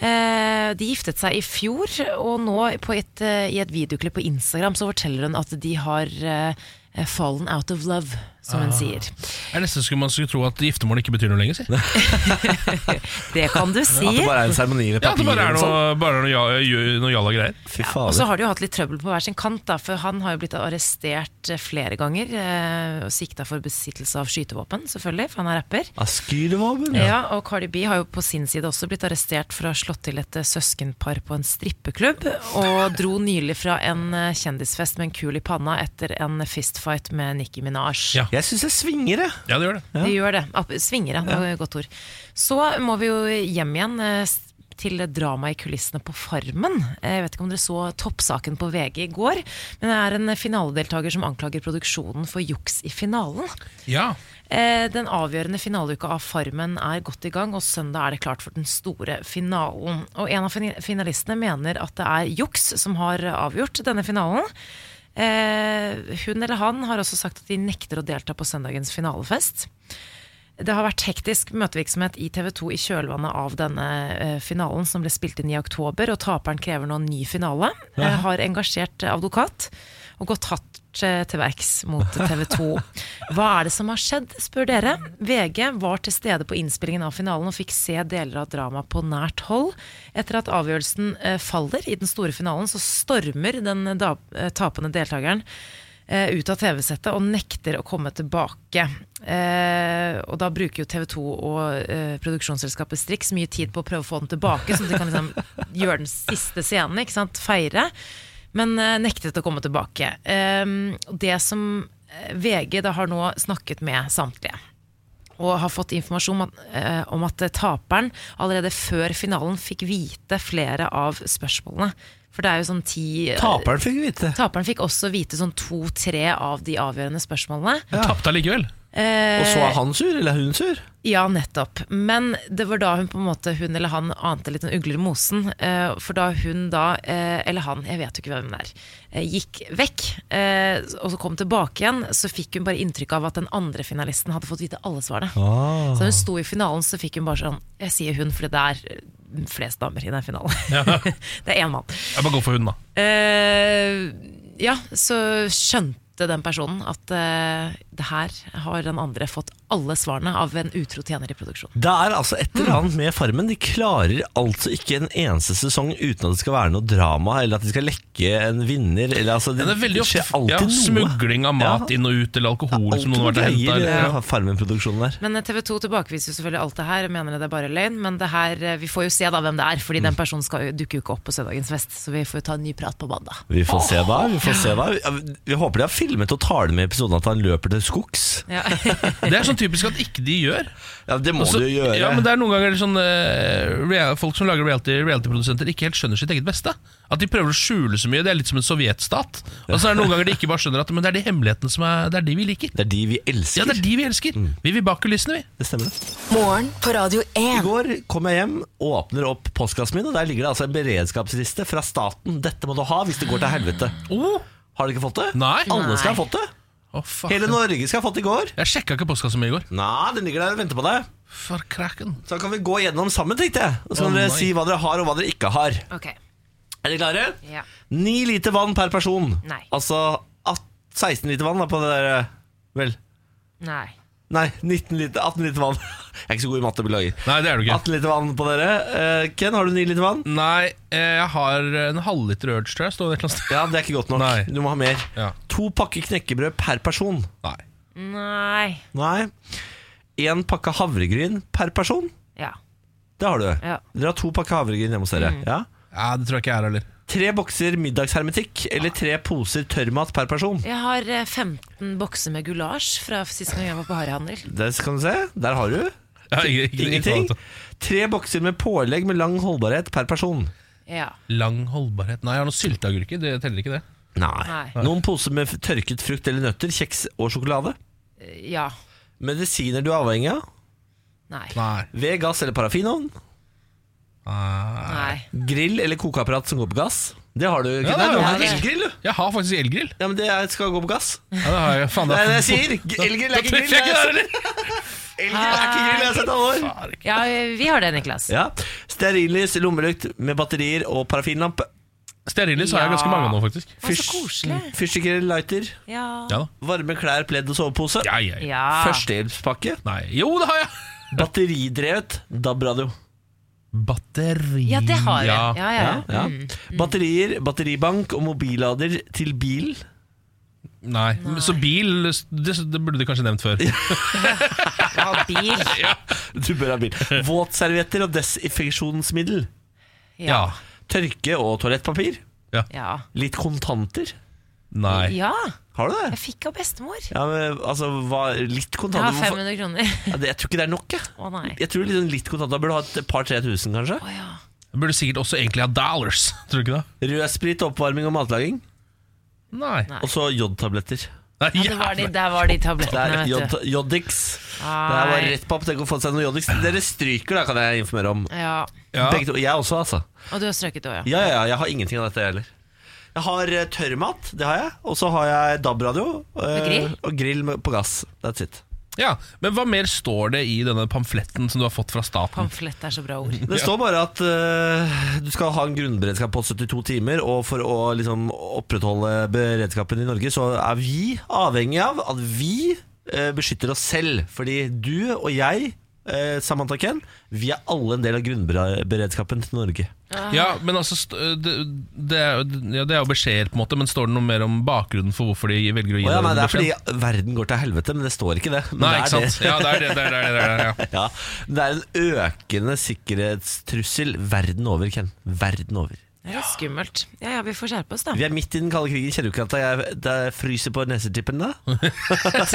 Eh, De giftet seg i fjor, og nå på et, eh, i et videoklipp på Instagram så forteller hun at de har eh, fallen out of love, som
Ah.
hun sier.
Jeg nesten skulle man skulle tro at giftermål ikke betyr noe lenger, si.
Det kan du si.
At det bare er en seremoni med
Ja, det
papir. og
bare er
sånn.
noe, altså, bare er noe, ja, noe jalla greier.
Fy
Og så
fader.
har de jo hatt litt trøbbel på hver sin kant, da, for han har jo blitt arrestert eh, flere ganger. Eh, og sikta for besittelse av skytevåpen, selvfølgelig, for han er rapper.
Askyrevåpen?
Ja. og Cardi B har jo på sin side også blitt arrestert for å ha slått til et eh, søskenpar på en strippeklubb, og dro nylig fra en eh, kjendisfest med en kul i panna etter en fistfight med Nicki Minaj.
Ja.
Jeg syns jeg svinger, jeg.
Ja, det gjør det.
Det gjør det. Ap- Svinger, ja. Det var et godt ord. Så må vi jo hjem igjen eh, s- til dramaet i kulissene på Farmen. Eh, Jeg vet ikke om dere så toppsaken på VG i går, men det er en finaledeltaker som anklager produksjonen for juks i finalen.
Ja.
Eh, Den avgjørende finaleuka av Farmen er godt i gang, og søndag er det klart for den store finalen. Og en av fin- finalistene mener at det er juks som har avgjort denne finalen. Eh, hun eller han har også sagt at de nekter å delta på søndagens finalefest. Det har vært hektisk møtevirksomhet i TV 2 i kjølvannet av denne eh, finalen, som ble spilt inn i oktober, og taperen krever nå en ny finale. Eh, har engasjert eh, advokat og gått hardt eh, til verks mot TV 2. Hva er det som har skjedd, spør dere. VG var til stede på innspillingen av finalen og fikk se deler av dramaet på nært hold. Etter at avgjørelsen eh, faller i den store finalen, så stormer den da, eh, tapende deltakeren eh, ut av TV-settet og nekter å komme tilbake. Eh, og da bruker jo TV 2 og eh, produksjonsselskapet Strix mye tid på å prøve å få den tilbake, så de kan liksom gjøre den siste scenen, ikke sant? feire. Men eh, nektet å komme tilbake. Eh, og det som eh, VG da har nå snakket med samtlige og har fått informasjon om at, eh, om at taperen allerede før finalen fikk vite flere av spørsmålene. For det er jo sånn ti
Taperen fikk vite.
Taperen fikk også vite sånn to-tre av de avgjørende spørsmålene. Eh,
Hun tapte allikevel. Eh.
Og så er han sur, eller er hun sur?
Ja, nettopp. Men det var da hun på en måte, hun eller han ante litt sånn ugler i mosen. eh, For da hun da, eh, eller han, jeg vet jo ikke hvem det er, eh, gikk vekk eh, og så kom tilbake igjen, så fikk hun bare inntrykk av at den andre finalisten hadde fått vite alle svarene.
Ah.
Så da hun sto i finalen, så fikk hun bare sånn Jeg sier hun, fordi det er eh, flest damer i den finalen. det er én mann.
Jeg bare gå for hunden, da.
Eh, ja, så skjønte den personen at eh, det her har den andre fått alle svarene av en utro tjener i produksjonen.
Det er altså et eller annet med Farmen. De klarer altså ikke en eneste sesong uten at det skal være noe drama, eller at de skal lekke en vinner. Eller, altså, det,
Ja, det er veldig
skjer
ofte
alltid
ja,
noe.
smugling av mat
Ja.
inn og ut, eller alkohol
Alltid
som noen har vært og
noe
hentet,
greier,
eller-
eh, Farmen-produksjonen der.
Men eh, TV 2 tilbakeviser jo selvfølgelig alt det her, mener det er bare løgn. Men det her, eh, vi får jo se da hvem det er, fordi den personen skal, jo- dukker jo ikke opp på søndagens fest. Så vi får jo ta en ny prat på mandag.
Vi får se da. Vi får se da Ja, vi- Vi håper de har filmet og tar det med i episoden at han løper til skogs.
Ja.
Det er sånn typisk at ikke de gjør.
Ja, Det må
Også-
du jo gjøre.
Ja, men det er noen ganger sånn, eh, real, folk som lager reality- reality-produsenter ikke helt skjønner sitt eget beste. At de prøver å skjule så mye. Det er litt som en sovjetstat. Og så er det noen ganger de ikke bare skjønner at Men det er de hemmelighetene som er, det er de vi liker.
Det er Mm. de vi elsker.
Ja, det er de vi elsker. Vi vil bak kulissene, vi.
det stemmer det.
Morgen på Radio
I
1.
går kom jeg hjem, åpner opp postkassen min, og der ligger det altså en beredskapsliste fra staten. Dette må du ha hvis det går til helvete.
Oh,
Har dere ikke fått det?
Nei.
Alle skal ha fått det.
oh, fuck.
Hele Norge skal ha fått det i går.
Jeg sjekka ikke postkassa mi i går.
Nei, den ligger der og venter på deg.
For kraken.
Så da kan vi gå gjennom sammen, tenkte jeg. Og så kan
Å,
dere
nei.
si hva dere har, og hva dere ikke har.
Ok,
Er dere klare?
ja.
9 liter vann per person.
Nei.
Altså at- 16 liter vann da, på det der eh, Vel,
Nei.
nei, 19 liter, 18 liter vann. Jeg er ikke så god i matte, beklager.
Nei, det er du ikke.
18 liter vann på dere. Eh, Ken, har du 9 liter vann?
Nei, eh, jeg har en halvliter Urge, tror jeg. Står det et eller annet sted.
Ja, det er ikke godt nok.
Nei.
Du må ha mer.
Ja.
To pakker knekkebrød per person.
Nei.
Nei.
Nei. Én pakke havregryn per person.
Ja.
Det har du.
Ja.
Dere har to pakker havregryn hjemme hos dere. Ja.
Ja, det tror jeg ikke jeg er heller.
Tre bokser middagshermetikk eller tre poser tørrmat per person.
Jeg har eh, 15 bokser med gulasj fra sist gang jeg var på harehandel.
Det kan du se. Der har du.
Ja, ikke- ikke- ikke-
Ingenting. Tre bokser med pålegg med lang holdbarhet per person.
Ja.
Lang holdbarhet Nei, jeg har noen sylteagurker. Det teller ikke det.
Nei.
Nei.
Noen poser med f- tørket frukt eller nøtter, kjeks og sjokolade.
Ja.
Medisiner du er avhengig av.
Nei.
Nei.
Ved gass eller parafinovn.
Nei.
Nei.
Grill eller kokeapparat som går på gass. Det har du. ikke
Ja,
Nei, du
ja,
har
ja.
en elgrill, du.
Jeg har faktisk elgrill.
Ja, men det er- skal gå på gass.
Ja, det har jeg. Faen,
Det
da-
er det jeg sier. Elgrill er ikke grill.
treffer jeg ikke
det er-
der, eller?
Elgrill er ikke grill, jeg har sett alle år.
Faen, ikke.
Ja, vi har det, Niklas.
Ja. Stearinlys, lommelykt med batterier og parafinlampe.
Stearinlys har jeg ganske mange av nå, faktisk.
Å, så koselig.
Fyrstikker eller lighter.
Ja.
Ja da.
Varme klær, pledd og sovepose.
Ja, ja, ja.
Ja.
Førstehjelpspakke.
Nei. Jo, det har jeg!
Batteridrevet DAB-radio.
Batteri
ja, det har jeg.
Ja.
Ja, ja, ja. Mm.
Ja. Batterier, batteribank og mobillader til bil.
Nei. Men Så bil det, det burde du kanskje nevnt før.
Ja, bil.
Du bør ha bil. Våtservietter og desinfeksjonsmiddel.
Ja.
Ja.
Tørke og toalettpapir.
Ja.
Litt kontanter.
Nei.
ja.
Har du det?
Jeg fikk av bestemor.
Ja, men altså, hva, Litt
Jeg
kontanter
har
hvorfor-
500 kroner.
ja, det, Jeg tror ikke det er nok, jeg.
Å nei.
Jeg tror liksom litt kontanter burde ha et par-tre tusen, kanskje.
Å ja.
Jeg burde sikkert også egentlig ha dollars. Tror du ikke det?
Rødsprit, oppvarming og matlaging.
Nei.
Nei.
Og så jodtabletter.
Nei,
Ja, det var de,
jævla-
der var de
Det er
tablettene, vet du.
jod, Jodix. Det her var
Nei.
rett på opp. Tenk å få seg noe Jodix. Dere stryker, da, kan jeg informere om.
Ja.
Ja.
Begge to. Jeg også, altså.
Og du har strøket òg, ja.
Ja, ja, ja, jeg har ingenting av dette jeg heller. Jeg har eh, tørrmat, det har jeg. Og så har jeg DAB-radio. eh,
Og grill?
Og grill med- på gass. That's it.
ja. Men hva mer står det i denne pamfletten som du har fått fra staten?
Pamflett er så bra ord.
Det står bare at eh, du skal ha en grunnberedskap på 72 timer, og for å liksom, opprettholde beredskapen i Norge, så er vi avhengig av at vi eh, beskytter oss selv. Fordi du og jeg, eh, Samantha Ken, vi er alle en del av grunnberedskapen til Norge.
Ja, men altså st- det, det, er, jo- ja, det er jo beskjeder, på en måte, men står det noe mer om bakgrunnen for hvorfor de velger å gi
Å ja,
deg
nei,
den
det er
beskjeden?
fordi verden går til helvete, men det står ikke det. Men
Nei,
det
ikke
er
sant. Ja, det er det. det, er det, det, er det ja.
Ja, det er en økende sikkerhetstrussel verden over, Ken. Verden over.
Det er skummelt. Ja, ja, vi får skjerpe oss, da.
Vi er midt i den kalde krigen. Kjenner du ikke at jeg det fryser på nesetippen da?
Mm,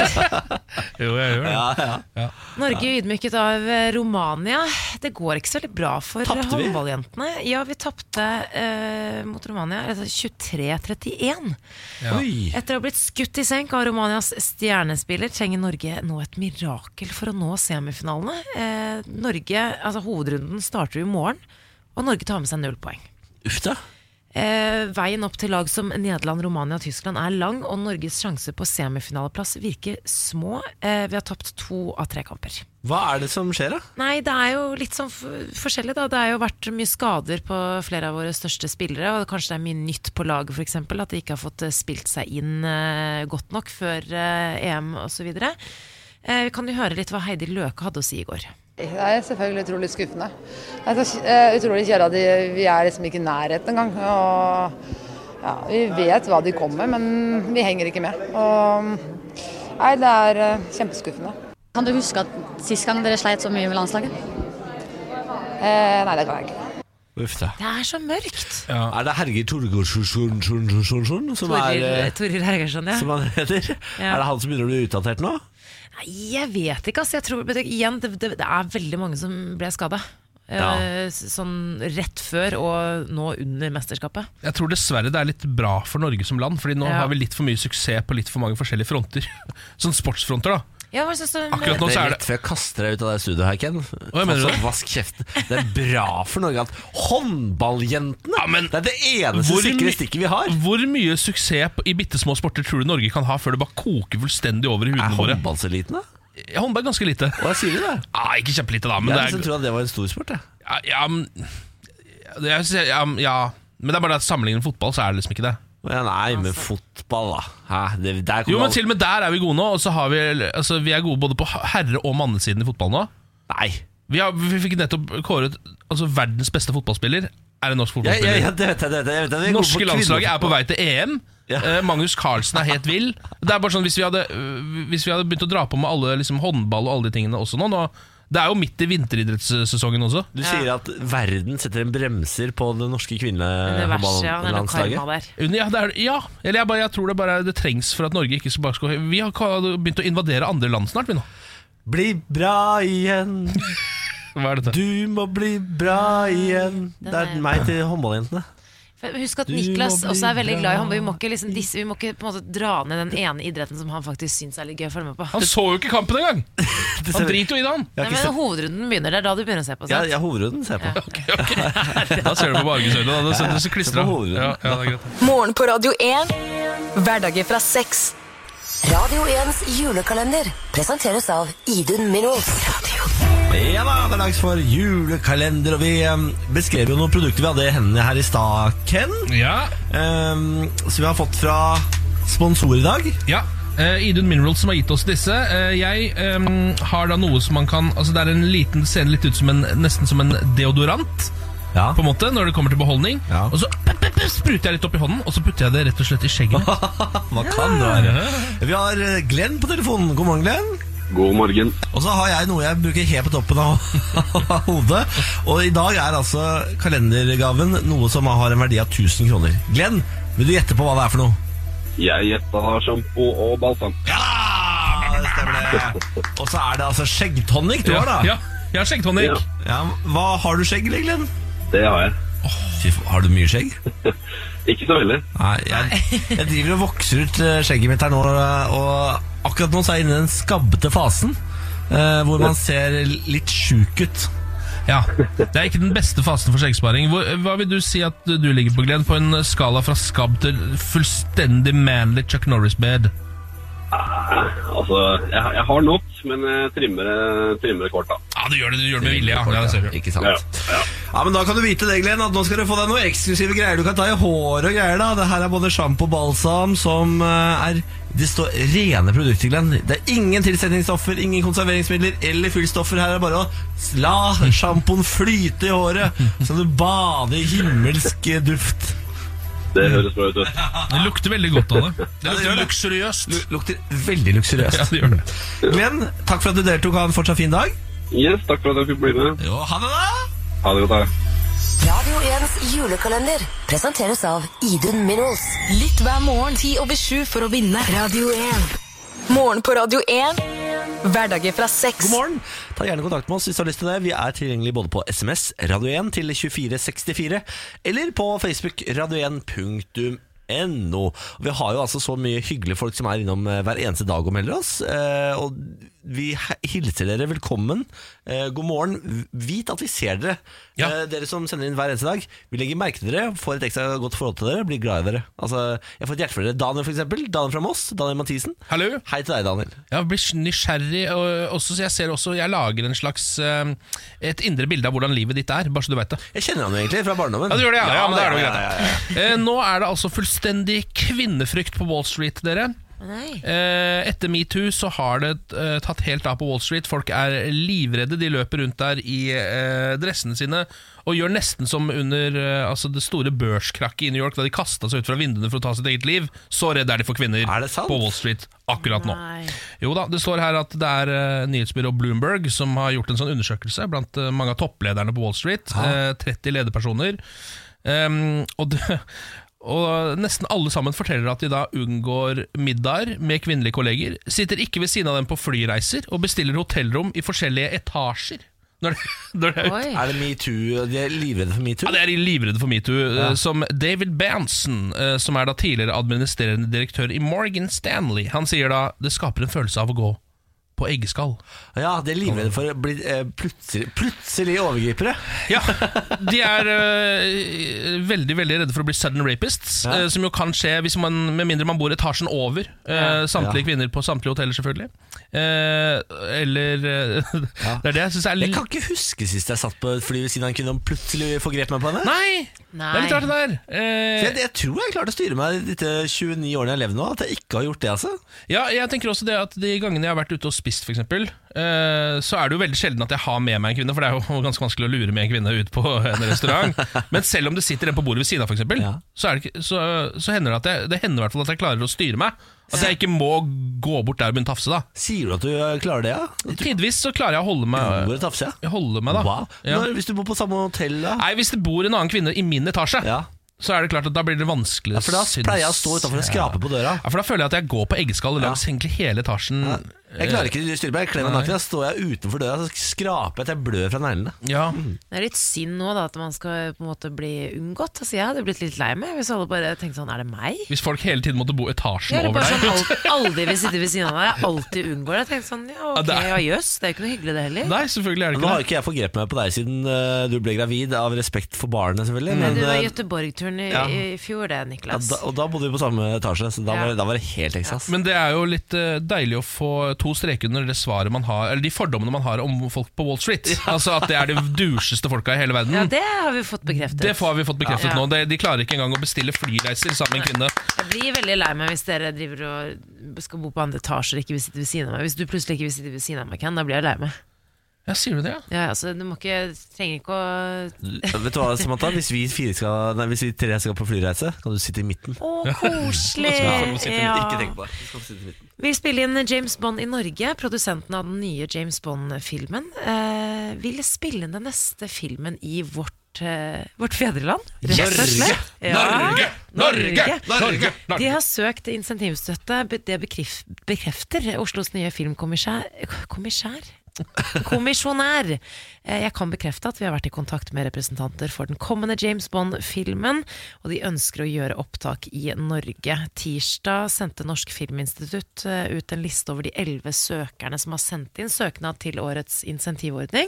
Jo, jeg gjør det.
Ja, ja.
Norge ydmyket av eh, Romania. Det går ikke så veldig bra for
Tapte vi?
håndballjentene. Ja, vi tapte eh, mot Romania altså 23-31.
Ja.
Oi.
Etter å ha blitt skutt i senk av Romanias stjernespiller, trenger Norge nå et mirakel for å nå semifinalene. Eh, Norge, altså Hovedrunden starter jo i morgen, og Norge tar med seg null poeng.
Uff da.
Eh, veien opp til lag som Nederland, Romania og Tyskland er lang, og Norges sjanse på semifinaleplass virker små. Eh, vi har tapt to av tre kamper.
Hva er det som skjer, da?
Nei, det er jo litt sånn f- forskjellig, da. Det er jo vært mye skader på flere av våre største spillere, og kanskje det er mye nytt på laget, f.eks. At de ikke har fått eh, spilt seg inn eh, godt nok før eh, EM osv. Eh, kan du høre litt hva Heidi Løke hadde å si i går?
Det er selvfølgelig utrolig skuffende. Det er så eh, utrolig kjedelig at de- vi er liksom ikke i nærheten engang. Og ja, vi vet hva de kommer med, men vi henger ikke med. Og nei, det er eh, kjempeskuffende.
Kan du huske at sist gang dere sleit så mye med landslaget?
Eh, nei, det kan jeg ikke.
Uff da.
Det er så mørkt!
Er det Herger Torgårdssjonsjon som er eh,
Toril, Toril Hergersson, ja.
som han heter?
Ja.
Er det han som begynner å bli utdatert nå?
Nei, jeg vet ikke. Altså. Jeg tror, men det- igjen, det, det, det er veldig mange som ble skada.
Ja.
Sånn rett før og nå under mesterskapet.
Jeg tror dessverre det er litt bra for Norge som land, Fordi nå
Ja.
har vi litt for mye suksess på litt for mange forskjellige fronter. Sånn sportsfronter, da.
Ja, hva synes du om-
Akkurat nå
Det
så
er
er
rett
det
før jeg kaster deg ut av det studioet her, Ken.
jeg mener
Altså,
det.
Vask kjeften. Det er bra for Norge at håndballjentene
Ja, men-
Det er det eneste
Hvor
sikre
my-
stikket vi har.
Hvor mye suksess på- i bitte små sporter tror du Norge kan ha før det bare koker fullstendig over i
Er
hudene våre?
håndballseliten, da?
Ja, Håndball er ganske lite.
Hva sier du, da?
Ja, ikke kjempelite, da. Men
Jeg
det
har
er
liksom trodd at det var en stor sport. Jeg.
Ja, ja, men- ja, jeg ser- ja, ja. Men det er bare det at sammenlignet med fotball, så er det liksom ikke det.
Men nei,
Altså.
men fotball, da. Hæ? Det, der
Jo,
kommer
men til og med der er vi gode nå. Og så har vi, altså, vi er gode både på herre- og mannesiden i fotball nå.
Nei.
Vi, har, vi fikk nettopp kåret altså, verdens beste fotballspiller. Er en norsk
Ja, ja,
fotballspiller.
ja, det vet jeg. Det vet jeg, jeg vet jeg. Vi er gode
Norske
på
landslaget er på
kvinnefotball.
vei til EM.
Ja.
Eh, Magnus Carlsen er helt vill. Det er bare sånn, Hvis vi hadde, øh, hvis vi hadde begynt å dra på med alle liksom, håndball og alle de tingene også nå, nå Det er jo midt i vinteridrettssesongen også.
Du sier at verden setter en bremser på det norske
Det verste, ja. Det er noe karma
kvinnelandslaget?
der.
Under- Ja, det er, ja. Eller jeg, bare, jeg tror det bare er- det trengs for at Norge ikke skal bare skal Vi har ka- begynt å invadere andre land snart, vi nå.
Bli bra igjen,
Hva er dette?
du må bli bra igjen.
Den
Det er
er-
meg til håndballjentene.
For Husk at
Du må
Niklas
bli
også er veldig glad i
bra.
håndball. Vi må ikke, liksom, disse, vi må ikke på en måte dra ned den ene idretten som han faktisk syns er litt gøy å følge med på.
Han så jo ikke kampen engang! Han
ser-
driter jo i det, han.
Jeg
Nei,
har
men
ikke sett
Hovedrunden begynner, det er da du begynner å se på.
ja,
Sant?
ja, hovedrunden ser jeg på.
Da ser du på Bargesøyla. Da, da ser du så
Det
klistra.
er på hovedrunden.
Ja, ja, det er greit.
Morgen på Radio 1. Hverdager fra seks.
Radio 1s julekalender presenteres av Idun Minolf.
Ja da, det er dags for julekalender, og vi eh, beskrev jo noen produkter vi hadde i hendene her i stad, Ken.
ja,
Um, som vi har fått fra sponsor i dag.
ja. Eh, Idun Minerals som har gitt oss disse. Eh, jeg ehm, har da noe som man kan Altså Det er en liten, det ser litt ut som en, nesten som en deodorant,
Ja.
på en måte, når det kommer til beholdning.
Ja.
Og så pep, pep, pep, spruter jeg litt opp i hånden, og så putter jeg det rett og slett i skjegget.
Hva kan det være? Vi har eh, Glenn på telefonen. God morgen, Glenn.
God morgen.
Og så har jeg noe jeg bruker helt på toppen av hodet. Og i dag er altså kalendergaven noe som har en verdi av 1000 kroner. Glenn, vil du gjette på hva det er for noe?
Jeg gjetta sjampo og balsam.
Ja! Det stemmer det. Og så er det altså skjeggtonic du har, da.
Ja, jeg har skjeggtonic.
Ja.
Ja, Hva har du skjegg, eller, Glenn?
Det har jeg.
Fy, f- har du mye skjegg?
Ikke så veldig.
Nei, jeg, jeg driver og vokser ut eh, skjegget mitt her nå, eh, og akkurat nå så er jeg inne i den skabbete fasen. eh, hvor man ser litt sjuk ut.
Ja, Det er ikke den beste fasen for skjeggsparing. Hvor, eh, hva vil du si at du ligger på, Glenn? På en skala fra skabb til fullstendig manly Chuck Norris-bed?
Altså, jeg, jeg har nok, men jeg trimmer, trimmer kort, da.
Ja, du gjør det, du gjør det med vilje. Ja. Ja, det ser du.
Ikke sant?
Ja,
Ja, men Da kan du vite det, Glenn, at nå skal du få deg noen eksklusive greier du kan ta i håret og greier. da Det her er både sjampo og balsam som eh, er Det står rene produkter, Glenn. Det er ingen tilsetningsstoffer, ingen konserveringsmidler eller fyllstoffer. Her er det bare å la sjampoen flyte i håret, så du bader i himmelsk eh, duft.
Det høres bra ut. vet du.
Det lukter veldig godt av det. Det
Ja, det gjør
lukter
det.
luksuriøst.
Lu- Lukter veldig luksuriøst.
Ja, det gjør det.
Glenn, takk for at du deltok. Ha en fortsatt fin dag.
Yes, takk for at jeg fikk bli med.
Jo, ha det, da!
Ha det godt. da.
Radio 1s julekalender presenteres av Idun Minolf.
Lytt hver morgen 10 over 7 for å vinne.
Radio 1.
Morgen på Radio 1. Hverdager fra seks.
God morgen. Ta gjerne kontakt med oss hvis du har lyst til det. Vi er tilgjengelige både på SMS, Radio 1 til 2464, eller på Facebook, radio1.no. Vi har jo altså så mye hyggelige folk som er innom eh, hver eneste dag og melder oss. eh, Og vi he- hilser dere velkommen. Eh, God morgen. V- Vit at vi ser dere.
Ja.
Eh, Dere som sender inn hver eneste dag. Vi legger merke til dere, får et ekstra godt forhold til dere, blir glad i dere. Altså, jeg får et hjerte for dere. Daniel, for eksempel. Daniel fra Moss. Daniel Mathisen.
Hallo?
Hei til deg, Daniel.
Jeg blir nysgjerrig. Og også, så jeg ser også, jeg lager en slags eh, et indre bilde av hvordan livet ditt er, bare så du veit det.
Jeg kjenner han jo egentlig fra barndommen.
Ja, du gjør det, ja. ja, men da er det jo
ja,
greit. Eh, Nå er det altså fullstendig kvinnefrykt på Wall Street, dere.
Nei.
Eh, etter metoo så har det eh, tatt helt av på Wall Street. Folk er livredde. De løper rundt der i eh, dressene sine og gjør nesten som under eh, altså det store børskrakket i New York, da de kasta seg ut fra vinduene for å ta sitt eget liv. Så redde er de for kvinner
Er det sant?
på Wall Street akkurat nå.
Nei.
Jo da, Det står her at det er eh, nyhetsbyrået Bloomberg som har gjort en sånn undersøkelse blant eh, mange av topplederne på Wall Street. Eh, 30 lederpersoner. Ehm, og, det, og nesten alle sammen forteller at de da unngår middager med kvinnelige kolleger. Sitter ikke ved siden av dem på flyreiser og bestiller hotellrom i forskjellige etasjer. Når det, når det er ute.
Oi.
Er det metoo? De er livredde for metoo?
Ja, det er de livredde for metoo. eh, Som David Banson, eh, som er da tidligere administrerende direktør i Morgan Stanley, han sier da det skaper en følelse av å gå på eggeskall.
Ja, de er livredde for å bli eh, plutselig, plutselig overgripere.
Ja, De er eh, veldig veldig redde for å bli sudden rapists,
Ja.
eh, som jo kan skje hvis man, med mindre man bor etasjen over. eh, samtlige
Ja.
kvinner på samtlige hoteller, selvfølgelig. Eh, eller eh, Det er det jeg syns er
Jeg
litt
kan ikke huske sist jeg satt på et fly ved siden av en kvinne og plutselig forgrep meg på henne.
Nei! Det er litt rart, det der. Eh,
Jeg, jeg tror jeg klarte å styre meg de 29 årene jeg har levd nå, at jeg ikke har gjort det. altså
Ja, jeg tenker også det at De gangene jeg har vært ute og spist, for eksempel, eh, så er det jo veldig sjelden at jeg har med meg en kvinne. For det er jo ganske vanskelig å lure med en kvinne ut på en restaurant. Men selv om det sitter en på bordet ved siden av, for eksempel,
Ja.
så, er det, ikke- så, så hender det at jeg, det hender i hvert fall at jeg klarer å styre meg. At jeg ikke må gå bort der og begynne å tafse. da
Sier du at du eh, klarer det, ja?
Tidvis så klarer jeg å holde
Hvor
meg,
er tafse? ja?
holde meg da.
Wow.
Ja.
Når, hvis du bor på samme hotell, da?
Nei, Hvis det bor en annen kvinne i min etasje,
Ja.
så er det klart at da blir det vanskelig.
ja, For da
syns
pleier jeg å stå utenfor og
jeg.
skrape på døra.
Ja, for Da føler jeg at jeg går på eggeskall langs egentlig hele etasjen.
Jeg klarer ikke å styre meg. Jeg kler meg naken. Da står jeg utenfor døra og skraper jeg til jeg blør fra neglene.
Ja,
Det er litt synd nå da at man skal på en måte bli unngått. Altså, jeg hadde blitt litt lei meg hvis alle bare tenkte sånn, er det meg?
Hvis folk hele tiden måtte bo etasjen
Eller
over
bare
deg.
sånn aldri, aldri vil sitte ved siden av deg. Jeg alltid unngår det. Jeg tenkte sånn, ja ok,
det er-
ja jøss, det er jo ikke noe hyggelig det heller.
Nei, selvfølgelig er det
Nå har
ikke det.
ikke jeg forgrepet meg på deg siden eh, du ble gravid, av respekt for barnet, selvfølgelig.
Men
Men,
Mm. du var
eh,
Göteborg-turen i,
ja.
i fjor det,
ja,
Niklas.
da, og da bodde vi på samme etasje, så da
Ja.
var, da var det helt Texas.
Men det er jo litt eh, deilig å få to streker under det svaret man har Eller de fordommene man har om folk på Wall Street. Altså At det er de doucheste folka i hele verden.
Ja,
det,
det har vi fått bekreftet.
får vi fått bekreftet
Ja.
nå. De, de klarer ikke engang å bestille flyreiser sammen med en kvinne.
Jeg blir veldig lei meg hvis dere driver og skal bo på andre etasjer og ikke vil sitte ved siden av meg. Hvis du plutselig ikke vil sitte ved siden av meg, Ken, da blir jeg lei meg.
Ja, Sier du det? ja?
Ja, altså, du må ikke, trenger ikke å
Eh, Vet du hva, Samantha? Hvis vi, fire skal, nei, hvis vi tre skal på flyreise, kan du sitte i midten.
Å, koselig!
Skal vi sitte-
Ikke tenk på det. Du skal sitte i midten.
Vi spiller inn James Bond i Norge. Produsenten av den nye James Bond-filmen eh, vil spille inn den neste filmen i vårt, eh, vårt fedreland. rett og slett.
Norge! Norge!
Norge!
Norge!
De har søkt insentivstøtte. be- Det bekrif- bekrefter Oslos nye filmkommissær Kommissær? Kommisjonær. Eh, Jeg kan bekrefte at vi har vært i kontakt med representanter for den kommende James Bond-filmen, og de ønsker å gjøre opptak i Norge. Tirsdag sendte Norsk Filminstitutt eh, ut en liste over de elleve søkerne som har sendt inn søknad til årets insentivordning.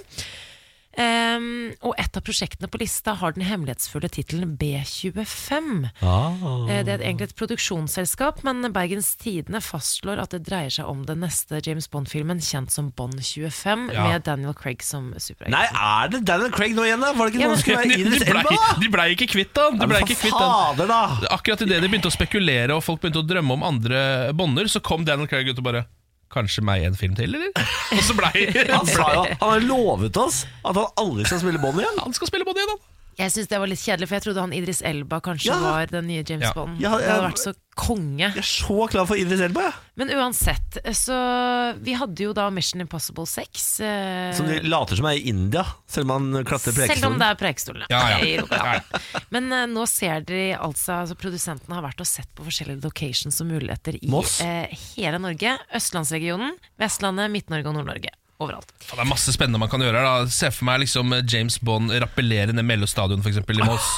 Ehm, og et av prosjektene på lista har den hemmelighetsfulle tittelen B25.
Ah.
Eh, Det er
Mm.
egentlig et produksjonsselskap, men Bergens Tidende fastslår at det dreier seg om den neste James Bond-filmen, kjent som Bond 25,
Ja.
med Daniel Craig som superhelt.
Nei, er det Daniel Craig nå igjen, da? Var det ikke
Ja,
noen
men-
som skulle være
De,
Idris Elba,
blei,
da?
de blei ikke kvitt den! De blei ikke kvitt
Fader,
den.
da!
Akkurat idet de begynte å spekulere og folk begynte å drømme om andre bonder, så kom Daniel Craig ut og bare Kanskje meg en film til, eller? Og så blei
Han sa jo, han har lovet oss at han aldri skal spille Bond igjen.
Han skal spille Bond igjen, han.
Jeg syns det var litt kjedelig, for jeg trodde han Idris Elba kanskje
Ja.
var den nye James
Ja.
Bond.
Ja,
Det hadde
jeg-
vært så konge.
Jeg er så klar for Idris Elba, jeg.
Men uansett, eh, så Vi hadde jo da Mission Impossible 6. eh,
Som de later som er i India, selv om han klatrer
Selv om
prekestolen.
det er prekestolen. ja.
Ja, ja.
I Rogaland.
Ja.
Men eh, nå ser de altså, altså Produsentene har vært og sett på forskjellige locations og muligheter i
Moss?
eh, hele Norge. Østlandsregionen, Vestlandet, Midt-Norge og Nord-Norge. Overalt.
Ja, det er masse spennende man kan gjøre. her, Da. Se for meg liksom James Bond rappellere ned Mello stadion, f.eks. i Moss.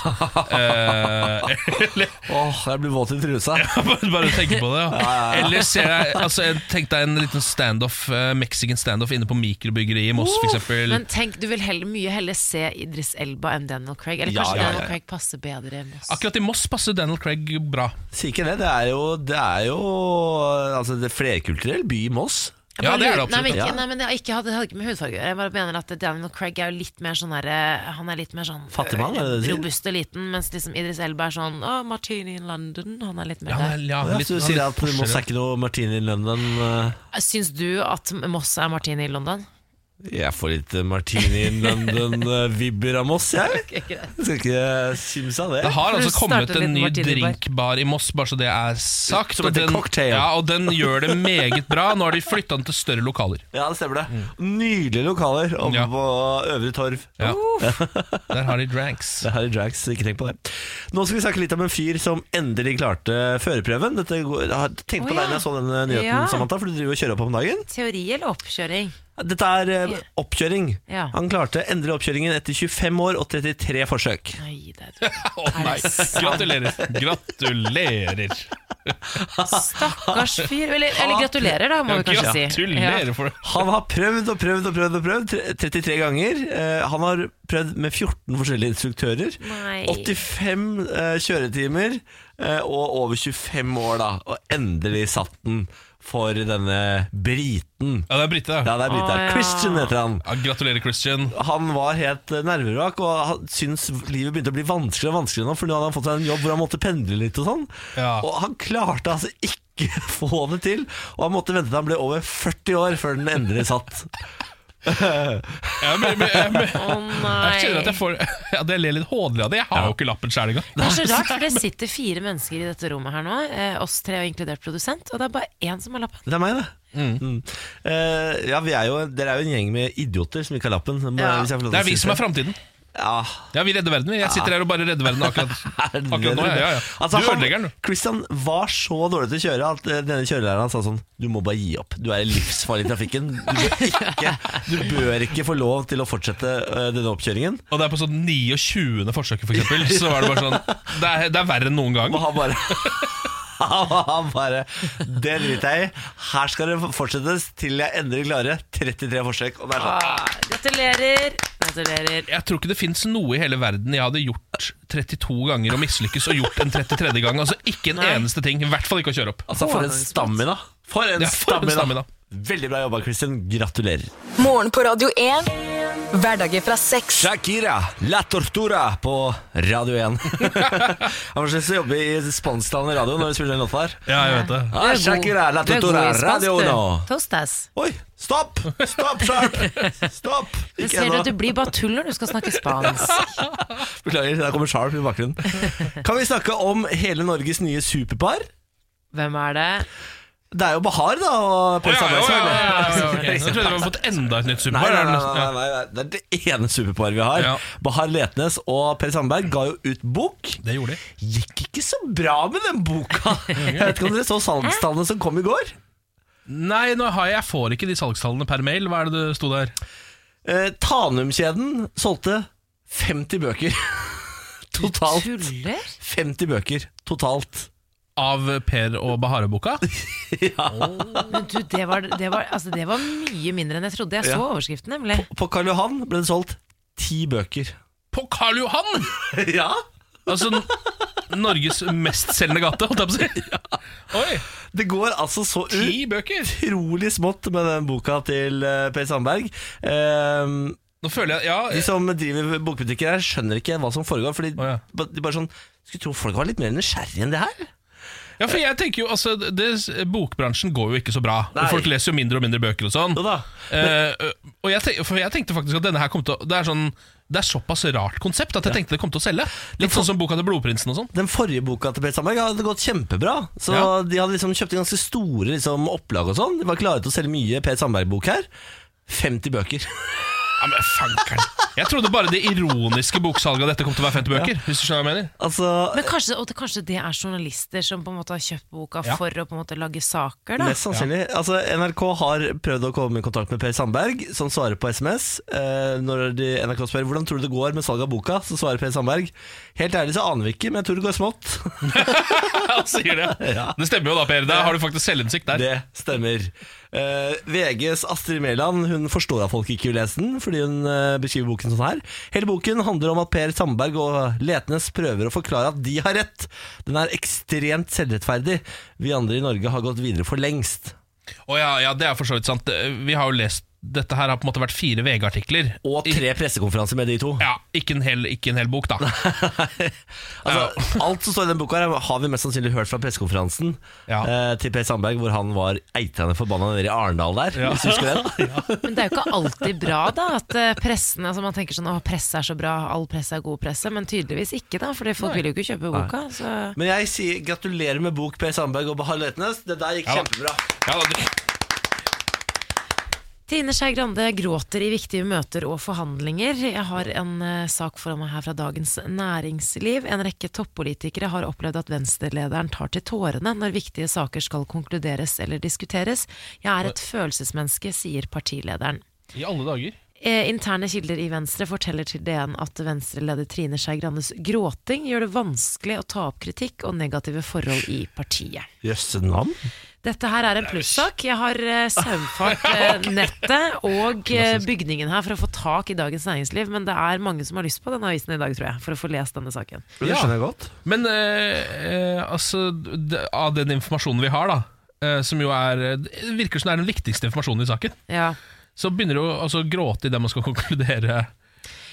eh, eller
Åh, jeg blir våt i trusa.
bare, bare tenke på det, ja. Eller ser jeg, altså, jeg Tenk deg en liten standoff, eh, mexican standoff inne på mikrobryggeriet i Moss,
Men
f.eks.
tenk, du vil heller, mye heller se Idris Elba enn Daniel Craig. Eller
Ja,
kanskje
ja, ja,
Daniel
ja.
Craig passer bedre enn oss.
Akkurat i Moss passer Daniel Craig bra.
Sier ikke det. Det er jo, det er jo altså, det er flerkulturell by i Moss.
Jeg
Ja,
bare
det er det
lurer-
absolutt,
Nei, men,
ja.
ikke, nei, men det, har ikke, hadde, hadde ikke med hudfarge å gjøre. Jeg bare mener at Daniel Craig er jo litt mer sånn derre Han er litt mer sånn
Fattig mann, er det det du sier?
robust og liten, mens liksom Idris Elba er sånn Å, Martini in London. Han er litt mer
Ja,
der.
han er- ja,
Ja,
litt- sånn
så du
han
sier
litt
at Moss er
forskjellig.
ikke noe martini i London. eh,
Syns du at Moss er Martini i London?
Jeg får litt eh, martini in London-vibber av Moss, jeg.
Ok, greit.
Skal ikke kimse av
Det
det.
har
For
altså
du
kommet
startet
en
litt
ny
martinibar.
drinkbar i Moss, bare så det er sagt.
Som
og
heter
den-
Cocktail.
Ja, og den gjør det meget bra. Nå har de flytta den til større lokaler.
Ja, det stemmer det. Nydelige lokaler oppe
Mm. Ja.
på Øvre Torv.
Ja. Der har de dranks.
Det er Harry Drags, ikke tenk på det. Nå skal vi snakke litt om en fyr som endelig klarte førerprøven. Dette går, jeg har tenkt på
Å,
deg
ja.
når jeg så denne nyheten,
Ja.
Samantha, for du driver og kjører opp om dagen.
Teori eller oppkjøring?
Dette er eh, oppkjøring.
Ja.
Han klarte endelig oppkjøringen etter 25 år og 33 forsøk.
Nei, det er
Å nei, gratulerer. Gratulerer.
Stakkars fyr. Eller, eller gratulerer, da, må vi kanskje si.
Gratulerer for det.
Han har prøvd og prøvd og prøvd og prøvd tre- 33 ganger. Eh, Han har prøvd med 14 forskjellige instruktører.
Nei.
85 eh, kjøretimer eh, og over 25 år, da. Og endelig satt den for denne briten.
Ja, det er Britte.
Ja, det er brita.
Å, ja.
Christian heter han.
Ja, gratulerer, Christian.
Han var helt eh, nervevrak og han syntes livet begynte å bli vanskeligere og vanskeligere nå, for nå hadde han fått seg en jobb hvor han måtte pendle litt og sånn.
Ja.
Og han klarte altså ikke få det til, og han måtte vente til han ble over 40 år før den endelig satt.
Jeg, men, men, jeg, men,
Å
jeg kjenner
nei.
at jeg får At jeg ler litt hånlig av det. Jeg har jo ikke lappen sjæl engang.
Det er så rart, for det sitter fire mennesker i dette rommet her nå, eh, oss tre og inkludert produsent, og det er bare én som har lappen.
Det er meg, det. Mm. Eh, ja, vi er jo, dere er jo en gjeng med idioter som ikke har lappen. må-
Ja.
hvis jeg får lov
Det
til
er vi
å si
som er framtiden.
Ja,
Ja, vi redder verden. vi. Jeg sitter her og bare redder verden akkurat,
er det
akkurat nå.
det?
Ja, ja, ja.
Altså,
Du ødelegger den, du.
han, Christian var så dårlig til å kjøre at eh, denne kjørelæreren han sa sånn Du må bare gi opp. Du er livsfarlig i trafikken. Du bør ikke, du bør ikke få lov til å fortsette eh, denne oppkjøringen.
Og det er på sånn 29. forsøket, for eksempel, så er det bare sånn Det er, det er verre enn noen gang.
Og han bare Han bare Det driter jeg i. Her skal det fortsettes til jeg endelig klarer 33 forsøk. Og det er sånn
Ah, gratulerer! Gratulerer.
Jeg tror ikke det fins noe i hele verden jeg hadde gjort 32 ganger og mislykkes og gjort en 33. gang. Altså ikke en
Nei.
eneste ting. I hvert fall ikke å kjøre opp.
Altså, for en stamina. For en,
Ja, for en
stamina.
stamina.
Veldig bra jobba, Christian. Gratulerer.
Morgen på Radio 1. Hverdager fra seks.
Shakira, La Tortura på Radio 1. Han var slik å jobbe i spansktalende radio når vi spiller den låta her.
Ja, jeg vet det.
Ah,
Du er god.
Shakira, La
Du er god
Tortura,
i spansk,
Radio
du.
1.
Tostas.
Oi, stopp! Stopp, Sharp! Stopp!
Jeg
Ikke
ser at du
ennå.
blir bare tull når du skal snakke spansk.
Beklager, der kommer Sharp i bakgrunnen. Kan vi snakke om hele Norges nye superpar?
Hvem er det?
Det er jo Bahar, da. Og
Å,
Per
ja, ja,
Sandberg.
ja, ja, ja, ja,
selvfølgelig.
ok. Jeg trodde vi hadde fått enda et nytt
Nei,
superpar.
nei, nei,
Ja.
nei, nei, nei, det er det ene superparet vi har.
Ja.
Bahar Letnes og Per Sandberg ga jo ut bok.
Det gjorde de.
Gikk ikke så bra med den boka. Jeg vet ikke om dere så salgstallene som kom i går.
Nei, nå har jeg, jeg får ikke de salgstallene per mail. Hva er det det sto der?
Eh, Tanum-kjeden solgte 50 bøker. Totalt.
Tuller?
50 bøker totalt.
Av Per og Bahare-boka?
Men du, det var, det, var, altså, det var mye mindre enn jeg trodde. Jeg så overskriften, nemlig.
På Karl Johan ble det solgt 10 bøker.
På Karl Johan!
Ja?
Altså n- Norges mestselgende gate, holdt jeg på å si. Oi!
Det går altså så ut.
Ti bøker!
Utrolig smått med den boka til eh, Per Sandberg. Eh,
Nå føler jeg
De
Ja,
som driver bokbutikker her skjønner ikke hva som foregår Fordi
Å, ja.
ba- de bare sånn Skulle tro folk var litt mer nysgjerrige enn det her
ja for jeg tenker jo altså det, Bokbransjen går jo ikke så bra.
Nei.
Folk leser jo mindre og mindre bøker og sånn.
Jo da
Eh, og jeg, tenk, for jeg tenkte faktisk at denne her kom til å Det er, sånn, det er såpass rart konsept at jeg tenkte det kom til å selge. Litt sånn som boka til Blodprinsen og sånn.
Den forrige boka til Per Sandberg hadde gått kjempebra Så
Ja.
de hadde liksom kjøpt en ganske store liksom, opplag og sånn De var klare til å selge mye Per Sandberg-bok her 50 bøker
Ja, men fankeren. Jeg trodde bare det ironiske boksalget av dette kom til å være 50 bøker. Hvis du skjønner hva jeg mener
Altså
Men kanskje, og det, kanskje det er journalister som på en måte har kjøpt boka
Ja.
for å på en måte lage saker? da?
Mest sannsynlig. Altså, NRK har prøvd å komme i kontakt med Per Sandberg, som svarer på SMS. Eh, når de, NRK spør hvordan tror du det går med salget av boka, så svarer Per Sandberg Helt ærlig så aner vi ikke, men jeg tror det går smått.
Han sier det. det stemmer jo da, Per. Da har du faktisk selvinnsikt der.
Det stemmer. Eh, VGs Astrid Mæland Hun forstår at folk ikke vil lese den, fordi hun eh, beskriver boken sånn her. Hele boken handler om at Per Sandberg og Letnes prøver å forklare at de har rett. Den er ekstremt selvrettferdig. Vi andre i Norge har gått videre for lengst.
Å ja, ja, det er for så vidt sant. Vi har jo lest Dette her har på en måte vært fire VG-artikler.
Og tre pressekonferanser med de to.
Ja, ikke en hel, ikke en hel bok, da.
altså, alt som står i den boka, her har vi mest sannsynlig hørt fra pressekonferansen
Ja.
eh, til Per Sandberg, hvor han var eitrende forbanna nede i Arendal der. Hvis du husker den.
Men det er jo ikke alltid bra, da, at eh, pressen altså Man tenker sånn å, presse er så bra, all presse er god presse, men tydeligvis ikke, da, fordi folk vil jo ikke kjøpe boka. Så.
Men jeg sier gratulerer med bok, Per Sandberg og Bahar Letnes. Det der gikk
Ja.
kjempebra.
Ja, det,
Trine Skei Grande gråter i viktige møter og forhandlinger. Jeg har en eh, sak foran meg her fra Dagens Næringsliv. En rekke toppolitikere har opplevd at venstrelederen tar til tårene når viktige saker skal konkluderes eller diskuteres. Jeg er et følelsesmenneske, sier partilederen.
I alle dager.
Eh, Interne kilder i Venstre forteller til DN at Venstre-leder Trine Skei Grandes gråting gjør det vanskelig å ta opp kritikk og negative forhold i partiet.
Jøsse navn.
Dette her er en plussak. Jeg har eh, saumfart eh, nettet og eh, bygningen her for å få tak i Dagens Næringsliv, men det er mange som har lyst på denne avisen i dag, tror jeg, for å få lest denne saken.
Det skjønner jeg godt.
Men eh, eh, altså, d- av den informasjonen vi har, da, eh, som jo er det virker som det er den viktigste informasjonen i saken,
Ja.
så begynner du å altså, gråte idet man skal konkludere.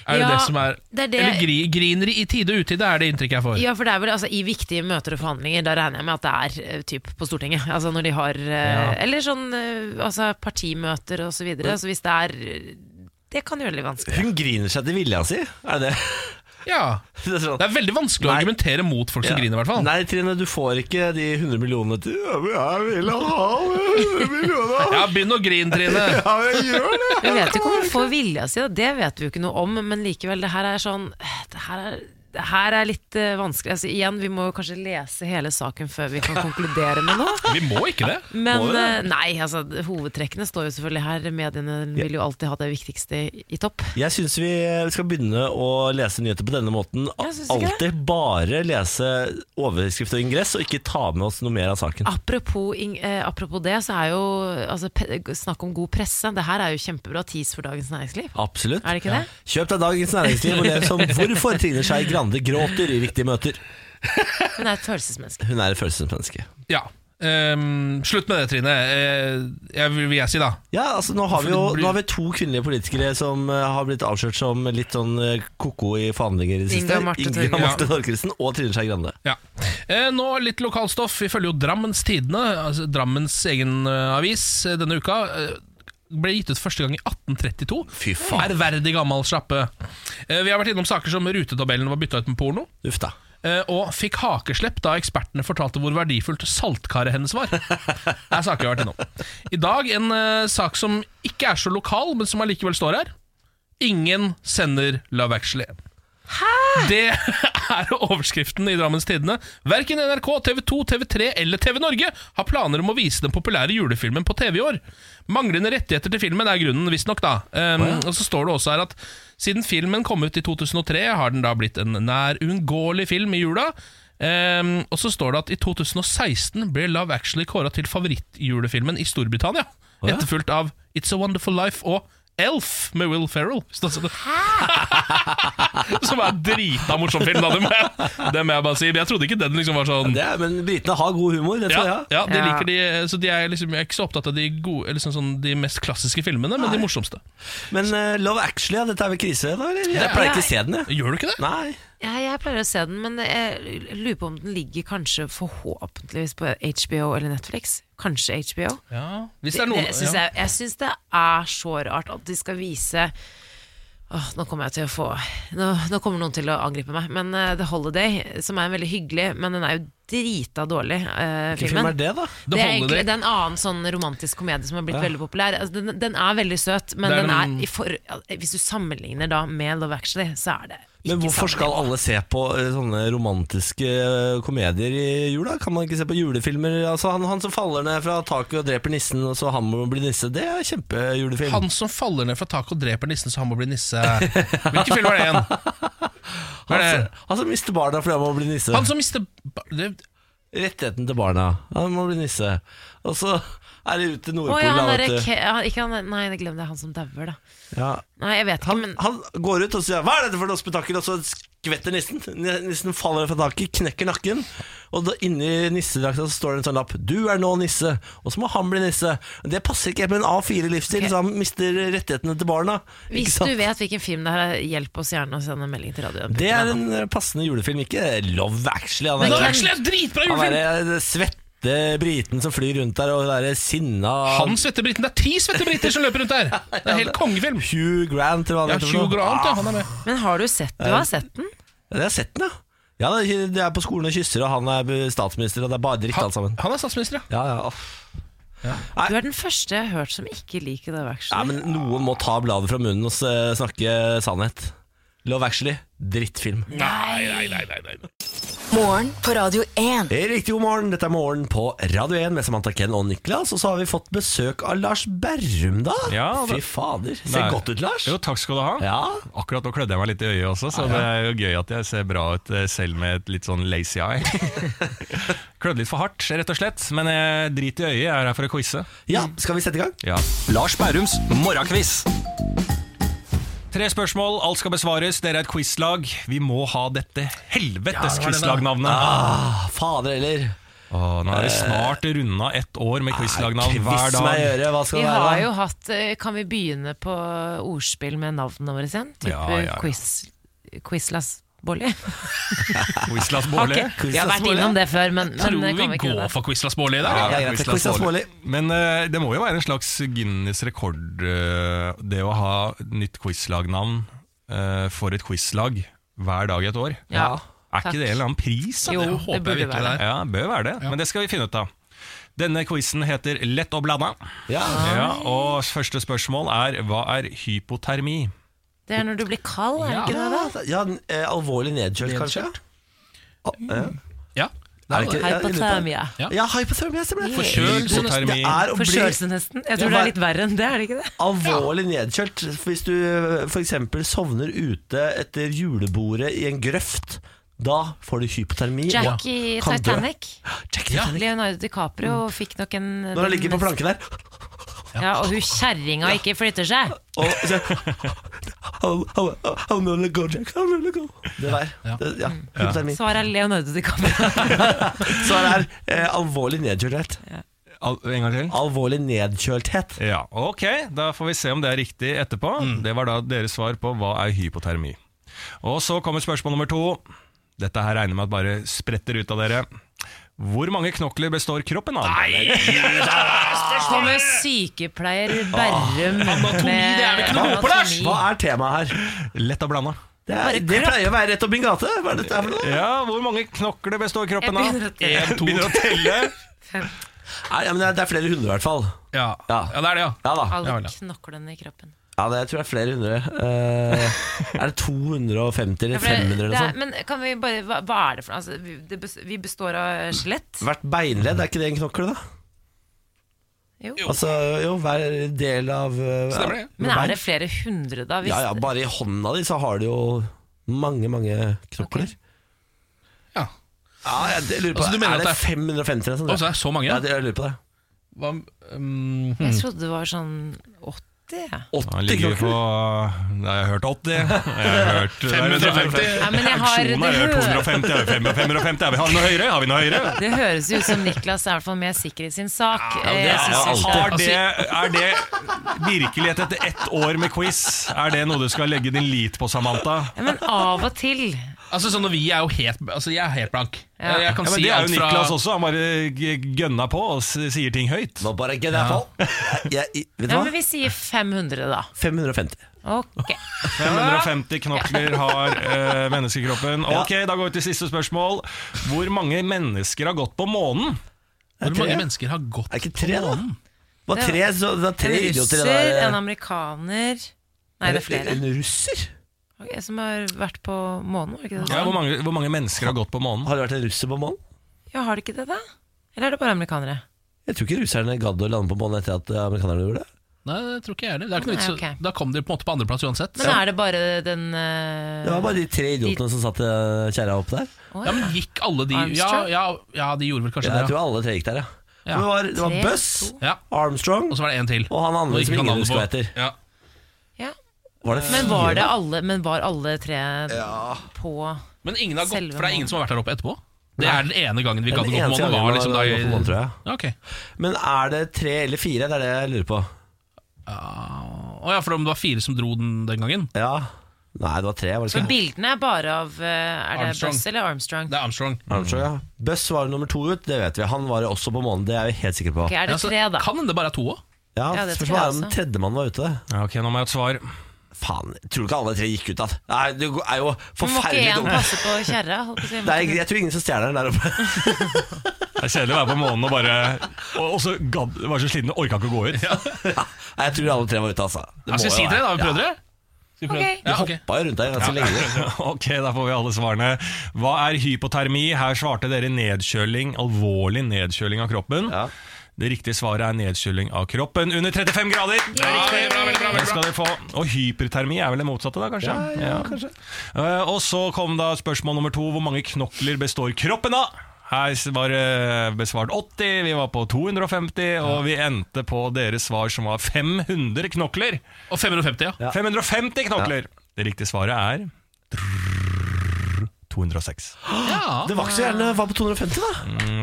Er det
Ja,
det som er
det er det-
Eller gri, griner i tide og utide, er det inntrykket jeg får.
Ja, for det er vel altså, I viktige møter og forhandlinger, da regner jeg med at det er eh, typ på Stortinget. Altså når de har eh, Eller sånn eh, altså, partimøter og så videre. Så hvis det er eh, Det kan gjøre det litt vanskelig.
Hun griner seg til vilja si. Er det
Ja.
det? Er sånn.
Det er veldig vanskelig å
Nei.
argumentere mot folk som
Ja.
griner, i hvert fall.
Nei, Trine, du får ikke de 100 millionene til Ja, men Jeg vil ha 100 millioner!
Ja, begynn å grine, Trine.
Ja, jeg gjør det!
Vi vet jo ikke om hun får vilja si, da, det vet vi jo ikke noe om, men likevel, det her er sånn Det her er, det her er litt eh, vanskelig. Altså, igjen, vi må jo kanskje lese hele saken før vi kan konkludere med noe.
Vi må ikke det.
Men eh, nei, altså, hovedtrekkene står jo selvfølgelig her. Mediene vil jo alltid ha det viktigste i- i topp.
Jeg syns vi skal begynne å lese nyheter på denne måten.
Jeg synes ikke det.
Alltid bare lese overskrift og ingress, og ikke ta med oss noe mer av saken.
Apropos, ing- eh, apropos det, så er jo altså, pe- snakk om god presse. Det her er jo kjempebra tease for Dagens Næringsliv.
Absolutt.
Er det ikke det?
Kjøp deg Dagens Næringsliv og les om hvorfor Trine Skei Grande gråter i viktige møter.
Hun er et følelsesmenneske.
Hun er et følelsesmenneske.
Ja. Ehm, slutt med det, Trine. Eh, jeg vil, vil jeg si, da.
Ja, altså nå har, vi jo,
For det
nå
blir-
har vi to kvinnelige politikere som eh, har blitt avslørt som litt sånn eh, ko-ko i forhandlinger i det siste.
Inga Marte
Inga
Torgersen.
Marte Torgersen og Trine Skei Grande.
Ja. Eh, nå litt lokalstoff. Vi følger jo Drammens Tidende, altså Drammens egen eh, avis, eh, denne uka. Eh, ble gitt ut første gang i 1832.
Fy faen.
Ærverdig gammel sjappe. Eh, vi har vært innom saker som rutetabellen var bytta ut med porno.
Uff da.
eh, Og fikk hakeslepp da ekspertene fortalte hvor verdifullt saltkaret hennes var. Det er saker jeg har vært innom. I dag en eh, sak som ikke er så lokal, men som allikevel står her. Ingen sender Love Actually. Det er overskriften i Drammens Tidende. Verken NRK, TV 2, TV 3 eller TV Norge har planer om å vise den populære julefilmen på TV i år. Manglende rettigheter til filmen er grunnen, visstnok. da. Um, Og så står det også her at siden filmen kom ut i 2003, har den da blitt en nær uunngåelig film i jula. Um, og så står det at i 2016 ble Love Actually kåra til favorittjulefilmen i Storbritannia.
ja.
Etterfulgt av It's A Wonderful Life og Elf med Will Ferrell. Hvis du har sett det. Som er drita morsom film, da. Det må, jeg, det må jeg bare si. Men jeg trodde ikke den liksom var sånn
Det er, men britene har god humor, det tror
ja,
jeg.
ja, de
Ja.
liker de Så de er liksom, jeg er ikke så opptatt av de, gode, eller sånn, sånn, de mest klassiske filmene, men de morsomste.
Men eh, Love Actually, ja, dette er vel krise? da, eller? Jeg pleier ikke å se den, jeg.
Gjør du ikke det?
Nei.
Ja, jeg pleier å se den, men jeg lurer på om den ligger kanskje forhåpentligvis på HBO eller Netflix. Kanskje HBO.
Ja. Hvis
Det,
det er noen
syns
ja.
jeg, jeg syns det er så rart at de skal vise Åh, nå kommer jeg til å få nå, nå kommer noen til å angripe meg. Men eh, The Holiday, som er en veldig hyggelig, men den er jo drita dårlig, eh,
Hvilken film
filmen.
er det, da?
Det
The
er,
Holiday.
egentlig, det er en annen sånn romantisk komedie som har blitt veldig populær. Altså, den, den er veldig søt, men
Det er
den
den-
er i for, ja, hvis du sammenligner da med Love Actually, så er det ikke
Men hvorfor skal
sammenlignet.
alle se på eh, sånne romantiske eh, komedier i jula? Kan man ikke se på julefilmer? Altså, han, han som faller ned fra taket og dreper nissen, og så han må bli nisse, det er kjempejulefilm.
Han som faller ned fra taket og dreper nissen så han må bli nisse. Hvilken film var det igjen? Hva
Han,
er det?
han som mister barna fordi han må bli nisse.
Han som mister ba- det-
Rettigheten til barna. Han må bli nisse. Og så er det ut til
Å ja,
Nordpolen.
han
da,
derre
vet du.
Ke- han- ikke han- Nei, glem det. Han som dauer, da.
ja.
Nei, jeg vet ikke, men
han går ut og sier 'hva er dette for noe spetakkel', og så skvetter nissen. N- Nissen faller fra taket, knekker nakken. Og da inni nissedrakta så står det en sånn lapp 'Du er nå nisse', og så må han bli nisse. Det passer ikke helt med en A4-livsstil, så han mister rettighetene til barna. Ikke
Hvis
sant?
du vet hvilken film det her er, hjelp oss gjerne å sende en melding til radioen.
Det er en eh, passende julefilm, ikke Love Actually. Han er,
Love Actually er en dritbra
Han
julefilm!
er eh, svette briten som flyr rundt der, og den der sinna
Han svette briten. Det er ti svette briter som løper rundt der! Det er en helt kongefilm.
Hugh Grant, eller hva han
Ja,
heter for
Hugh
noe.
Grant, ja, han er med.
Men har du sett, du har sett den?
Ja, det har jeg sett den, ja. Ja, det er- det er på skolen og kysser, og han er statsminister, og det er bare dritt Ah, alt
Han,
sammen.
han er statsminister, ja.
Ja, ja.
Du er den første jeg har hørt som ikke liker Love
Nei,
Actually.
men noen må ta bladet fra munnen og s- snakke sannhet. Love Actually, drittfilm.
Nei, nei, nei, nei, nei.
Morgen på Radio 1.
Riktig god morgen, dette er Morgen på Radio 1 med Samantha Ken og Niklas. Og så har vi fått besøk av Lars Berrum, da.
Ja,
Fy
det-
fader.
Nei.
Ser godt ut, Lars.
Jo, takk skal du ha.
Ja.
Akkurat nå klødde jeg meg litt i øyet også, så
Ah,
det er jo gøy at jeg ser bra ut eh, selv med et litt sånn lazy eye. klødde litt for hardt, rett og slett, men eh, drit i øyet, jeg er her for å quize.
ja, skal vi sette i gang?
Ja. Lars Bærums morgenkviss. Tre spørsmål, alt skal besvares. Dere er et quizlag. Vi må ha dette helvetes quizlagnavnet.
Ah, fader heller.
Åh, nå er det snart runda ett år med quizlagnavn hver
Kviss meg i
dag.
øret, hva skal
Vi
det være?
har
da?
jo hatt eh, Kan vi begynne på ordspill med navnene våre igjen? Type
Ja, ja, ja.
Quiz, Quizlas Bolli?
Quizlas
Har
Bårli.
ikke- Vi har vært innom det før, men, men
Tror
eh,
vi
kan vi ikke
går
det?
for Quizlas Bårli i dag?
Ja, greit,
Quizlas
Quizlas
Bårli.
Bårli.
Men eh, det må jo være en slags Guinness rekord, eh, det å ha nytt quizlagnavn eh, for et quizlag hver dag i et år.
Ja.
Er ikke
Takk.
det en eller annen pris? da?
Jo,
det
det
håper jeg
burde
virkelig
være
det
det.
er.
Ja, bør være det, men det skal vi finne ut av. Denne quizen heter Lett å blande.
Ja.
Ja, og første spørsmål er hva er hypotermi?
Det er når du blir kald, er det ikke det? da?
Ja, ja, n- eh, alvorlig nedkjølt, kanskje?
Mm.
Ja.
Er det ikke- ja, jeg lurer på det.
Hypotermia.
Ja.
Ja, hypothermia. stemmer det.
Forkjølelse, nesten.
Hypotermi.
Det er å
Forkjølelse,
bli
nesten. Jeg
Ja,
tror det
hva-
er litt verre enn det, er det ikke det?
alvorlig nedkjølt. Hvis du f.eks. sovner ute etter julebordet i en grøft, da får du hypotermi.
Jack i
og kan dø.
Titanic.
Jack i Titanic.
Leonardo DiCaprio fikk nok en
Når han ligger på
den-
planken der
Ja, og hun kjerringa ikke flytter seg.
og så, I'll, I'll, I'll never go, Jack. I'll never go. Det der. Det, ja.
Mm.
Hypotermi.
Svaret er Leonardo DiCaprio.
Så det er eh, alvorlig nedkjølthet.
Al en gang til.
Alvorlig nedkjølthet.
Ja, ok, da får vi se om det er riktig etterpå. Det var da deres svar på hva er hypotermi. Og så kommer spørsmål nummer to. Dette her regner jeg med at bare spretter ut av dere. Hvor mange knokler består kroppen av?
Kommer sykepleier Berrum
Anatomi, det er vi ikke noe gode på, Lars!
Hva er temaet her?
Lett å blande.
Det, er, det pleier å være rett opp min gate. Hva er dette her for noe?
Ja, hvor mange knokler består
Jeg
kroppen av?
begynner å telle.
Jeg begynner å telle.
Nei, ja, men det er- det er flere hundre, i hvert fall.
Ja.
Ja.
ja, det er det, ja.
Ja da.
Ja,
Alle
vel, ja.
knoklene i kroppen.
Ja, det, jeg tror det er flere hundre. Eh, er det 250 eller
Ja, for det-
500 eller sånn.
det
noe
er-
sånt?
Men kan vi bare Hva, hva er det for noe? Altså, vi, det bes- vi består av skjelett.
Hvert beinledd, er ikke det en knokkel, da?
Jo.
Altså, jo, hver del av eh,
Stemmer det.
Men er det flere hundre, da? Hvis
Ja ja, bare i hånda di så har du jo mange, mange knokler.
ja.
Ja, jeg, jeg lurer på
Altså, du mener
Er
at
det
det er-
550 eller noe sånt?
Og så er det så mange?
Ja, det- jeg lurer på det.
Hva, um,
Jeg trodde det var sånn 80. jeg.
80
Han ligger på
knokler?
Nei, jeg har hørt 80. Jeg har hørt
550.
Nei, men jeg har, det,
Aksjonen har jeg hørt
hø
250, jeg har hørt 550. Har vi noe høyere? Har vi noe høyere?
det høres jo ut som Niklas er i hvert fall mer sikker i sin sak. Eh, jeg synes
Ja, altså.
ikke-
har det, er det virkelighet etter ett år med quiz? Er det noe du skal legge din lit på, Samantha?
Ja, Men av og til
Altså sånn når vi er jo helt Altså jeg er helt blank.
Ja.
Jeg, jeg kan
Ja, men
si
det er
alt
jo
fra
Niklas også. Han bare g- gønna på og s- sier ting høyt.
Nå bare ikke det, i hvert fall. Jeg- jeg- Vet du
Ja,
hva?
men vi sier 500, da.
550.
Ok.
550 knokler har eh, menneskekroppen. Ok, Da går vi til siste spørsmål. Hvor mange mennesker har gått på månen?
Hvor
tre,
mange
ja.
mennesker har gått
Er ikke tre, da?
månen?
Det var tre, så, det var
En
tre idioter i det
russer,
der. eh,
en amerikaner Nei, det er flere.
En russer?
Ok, som har vært på månen, var det ikke det? du sa?
Ja, hvor, mange, hvor mange mennesker har gått på månen?
Har det vært en russer på månen?
Ja, har det ikke det, da? Eller er det bare amerikanere?
Jeg tror ikke russerne gadd å lande på månen etter at eh, amerikanerne gjorde det.
Nei, det tror ikke jeg heller. Det er ikke noe vits.
Nei, ok.
Da kom de på en måte på andreplass uansett.
Men er det bare den eh,
Det var bare de tre idiotene som satte eh, kjerra opp der.
å,
Ja, men gikk alle de ja,
Armstrong?
ja, ja, de gjorde vel kanskje
Jeg
det.
tror alle tre gikk der, ja.
Ja.
For Det var, det var
Tre,
Buss,
to.
Ja.
Armstrong
Og så var det en til.
og han
Nå
andre
gikk
som
han
ingen
an
husker hva
på.
heter.
Ja.
ja.
Var det
Men var, det alle, men var alle tre
Ja.
på
Men ingen har gått,
Selve
for det er ingen som har vært der oppe etterpå? Det er den ene gangen vi
Den
gadd å gå
eneste
på månen.
gangen
Var
var-
liksom da
var på månen, tror jeg.
Ja, ok.
Men er det tre eller fire? Det er det jeg lurer på.
Ah, Å ja, for om det var fire som dro den den gangen?
Ja. Nei, det var tre. var det
For
ikke?
bildene er bare av eh, Er det
Armstrong.
Buzz eller Armstrong?
Det er Armstrong.
Armstrong, ja. Buss var jo nummer to ut, det vet vi. Han var jo også på månen, det er vi helt sikre på.
Ok, er det
Ja, altså, så
tre, da?
Kan hende det bare er to òg.
Ja,
Ja, det
Spørsmålet
tror jeg
er om
også.
tredjemann var ute.
Ja, ok, Nå må jeg ha et svar.
Faen, tror du ikke alle tre gikk ut da? Nei, det er jo
Men Må ikke
forferdelig
én
dumt.
passe på kjerra? holdt på å si?
Det er, jeg tror ingen som stjeler den der oppe.
Det er kjedelig å være på månen og bare Og og så gadd, var så sliten og orka ikke å gå ut.
Nei, jeg tror alle tre var ute, altså. Det
Ja, skal
må
vi si
jo
tre,
være.
da? Vi prøver det? Skal vi
Ok.
prøve? Ja,
Vi
ok.
hoppa jo rundt der ganske lenge.
Ok, da får vi alle svarene. Hva er hypotermi? Her svarte dere nedkjøling, alvorlig nedkjøling av kroppen.
Ja.
Det riktige svaret er nedkjøling av kroppen under 35 grader.
Ja, veldig bra, veldig bra,
Det
veldig bra.
skal dere få. Og hypertermi er vel det motsatte, da, kanskje? Ja, kanskje. og så kom da spørsmål nummer to. Hvor mange knokler består kroppen av? Her var eh, det besvart 80, vi var på 250, og vi endte på deres svar som var 500 knokler.
Og 550, ja.
550 knokler! Det riktige svaret er 206.
Det var ikke så gjerne var på 250, da.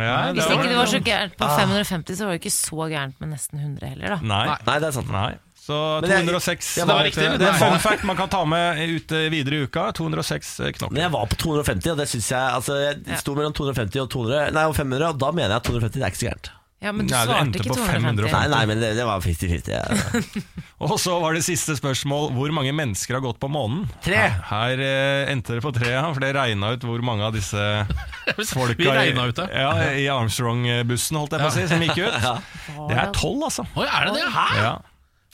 Ja,
Hvis ikke du var så gærent på 550, så var det ikke så gærent med nesten 100 heller, da.
Nei.
Nei, det er sant.
Nei. Så
Men jeg-
206
jeg var
det er-
riktig, men
Det er
nei.
fun fact man kan ta med ut eh, videre i uka. 206 eh, knokler.
Men jeg var på 250, og det syns jeg altså, Jeg sto mellom 250 og 200 Nei, og 500, og da mener jeg at 250 det er ikke så gærent.
Ja, Men du
Nei, du endte
svarte ikke
på 550.
250.
Nei, nei, men det, det var 50-50. ja.
Og så var det siste spørsmål hvor mange mennesker har gått på månen.
Tre.
Her, her eh, endte det på tre, ja, for det regna ut hvor mange av disse folka
Vi regna ut det.
i, ja, i Armstrong-bussen holdt jeg på å si, som gikk ut. Det er tolv, altså.
Oi, er det det? Hæ?
Ja.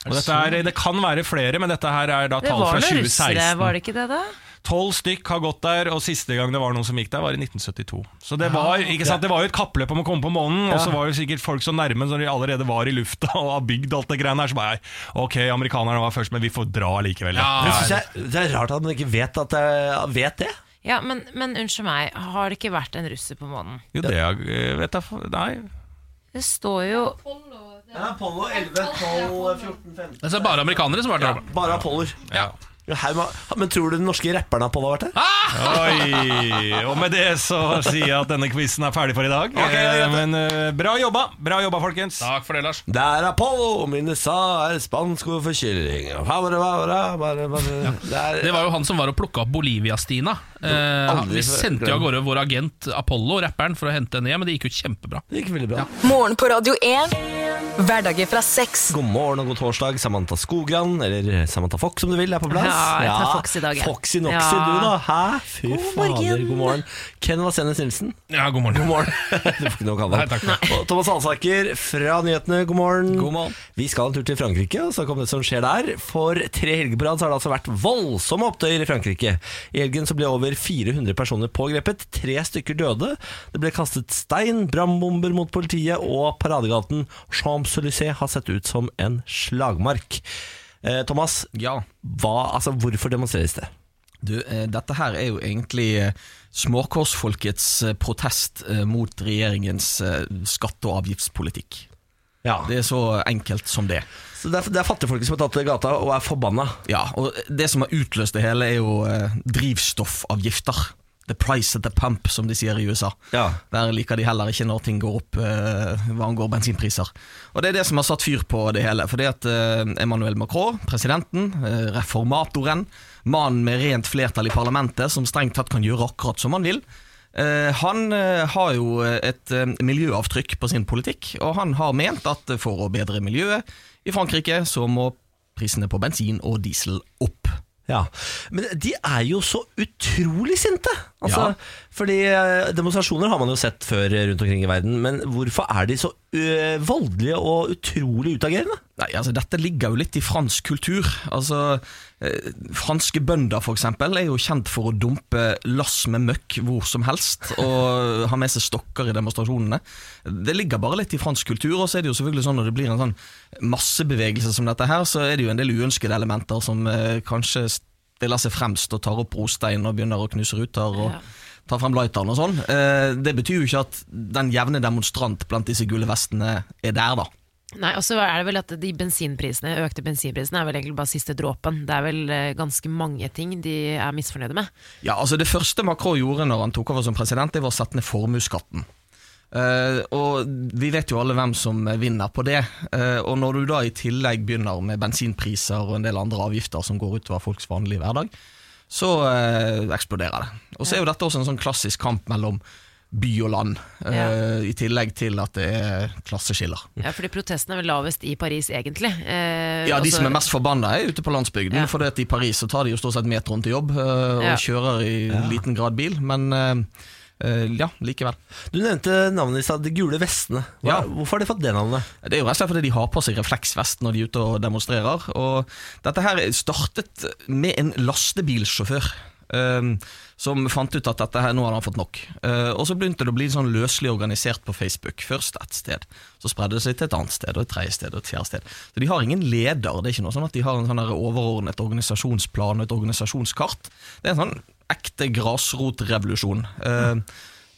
Og dette er, det kan være flere, men dette her er da
Det
tall
var
fra
noen russere,
2016.
var det ikke det, da?
Tolv stykk har gått der, og siste gang det var noen som gikk der, var i 1972. Så det var, ikke sant? Det var jo et kappløp om å komme på månen, og så var jo sikkert folk så nærme som de allerede var i lufta og har bygd alt det greiene her, så bare nei, Ok, amerikanerne var først, men vi får dra likevel. da.»
Det,
Ja,
synes jeg, det er rart at man ikke vet, at, jeg- vet det.
Ja, men, men unnskyld meg, har det ikke vært en russer på månen?
Jo, det er, eh, vet jeg fa- Nei.
Det står jo
Apollo 11, 12, 14, 15
Altså, Det er bare amerikanere som har vært der oppe.
Bare Apolloer.
Ja.
Ja, her må- Men tror du den norske rapperen Apollo har vært der?
Oi. Og med det så sier jeg at denne quizen er ferdig for i dag.
det er
Eh,
greit.
Men eh, bra jobba, bra jobba, folkens.
Takk for det, Lars.
Det er Apollo, mine sa er spansk ord for kylling. Bare, bare, bare, bare. Det er
Det var jo han som var og plukka opp Bolivia-Stina. Eh, han- vi sendte jo av gårde vår agent Apollo, rapperen, for å hente henne hjem, men det gikk jo kjempebra.
det gikk veldig bra.
Morgen på Radio 1. Hverdager fra seks.
God morgen og god torsdag. Samantha Skogran, eller Samantha Fox om du vil, er på plass.
Ja, jeg tar Fox i dag, jeg.
Foxy Noxy,
Ja.
du da. Hæ? Fy
God
fader,
morgen.
god morgen. Ken Vasenes Nilsen.
Ja, god morgen.
God morgen. du får ikke noe å kalle
Nei,
ham.
takk.
Og Thomas Alsaker fra Nyhetene, god morgen.
God morgen.
Vi skal en tur til Frankrike og snakke om det som skjer der. For tre helger på rad så har det altså vært voldsomme opptøyer i Frankrike. I helgen så ble over 400 personer pågrepet, tre stykker døde. Det ble kastet stein, brannbomber mot politiet, og paradegaten Champs-Élysées har sett ut som en slagmark. Eh, Thomas,
Ja.
hva, altså, hvorfor demonstreres det?
Du, eh, dette her er jo egentlig eh, småkorsfolkets eh, protest eh, mot regjeringens eh, skatte- og avgiftspolitikk.
Ja.
Det er så enkelt som det.
Så det er, det er fattigfolket som har tatt til gata og er forbanna.
Ja, og Det som har utløst det hele, er jo eh, drivstoffavgifter. The price at the pump, som de sier i USA.
Ja.
Der liker de heller ikke når ting går opp, eh, hva angår bensinpriser. Og Det er det som har satt fyr på det hele. Fordi at eh, Emmanuel Macron, presidenten, eh, reformatoren, mannen med rent flertall i parlamentet, som strengt tatt kan gjøre akkurat som han vil, eh, han eh, har jo et eh, miljøavtrykk på sin politikk, og han har ment at eh, for å bedre miljøet i Frankrike, så må prisene på bensin og diesel opp.
Ja, Men de er jo så utrolig sinte! Altså,
Ja.
Fordi eh, Demonstrasjoner har man jo sett før eh, rundt omkring i verden, men hvorfor er de så eh, voldelige og utrolig utagerende?
Nei, altså Dette ligger jo litt i fransk kultur. Altså, eh, Franske bønder for eksempel, er jo kjent for å dumpe lass med møkk hvor som helst og ha med seg stokker i demonstrasjonene. Det ligger bare litt i fransk kultur. Og så er det jo selvfølgelig sånn når det blir en sånn massebevegelse som dette her, så er det jo en del uønskede elementer som eh, kanskje stiller seg fremst og tar opp brostein og begynner å knuse ruter. og
Ja.
tar frem lighteren og sånn. Eh, Det betyr jo ikke at den jevne demonstrant blant disse gule vestene er der, da.
Nei, og så er det vel at de bensinprisene, økte bensinprisene er vel egentlig bare siste dråpen. Det er vel eh, ganske mange ting de er misfornøyde med.
Ja, altså Det første Macron gjorde når han tok over som president, det var å sette ned formuesskatten. Eh, og vi vet jo alle hvem som vinner på det. Eh, og når du da i tillegg begynner med bensinpriser og en del andre avgifter som går utover folks vanlige hverdag, så eh, eksploderer det. Og så er jo dette også en sånn klassisk kamp mellom by og land, eh, i tillegg til at det er klasseskiller.
Ja, fordi protestene er vel lavest i Paris, egentlig. Eh,
Ja, De
også-
som er mest forbanna, er ute på landsbygden.
Ja.
For i Paris så tar de jo stort sett metroen til jobb, øh, og
Ja.
kjører i liten grad bil. Men øh, øh, ja, likevel.
Du nevnte navnet i stad, De gule vestene. Hva, Hvorfor har de fått det navnet?
Det er jo rett og slett fordi de har på seg refleksvest når de er ute og demonstrerer. Og dette her startet med en lastebilsjåfør. øhm, som fant ut at dette her, nå hadde han fått nok. Eh, og så begynte det å bli sånn løselig organisert på Facebook. Først ett sted, så spredde det seg til et annet sted, og et tredje sted, og et fjerde sted. Så de har ingen leder. Det er ikke noe sånn at de har en sånn her overordnet organisasjonsplan og et organisasjonskart. Det er en sånn ekte grasrotrevolusjon. Eh,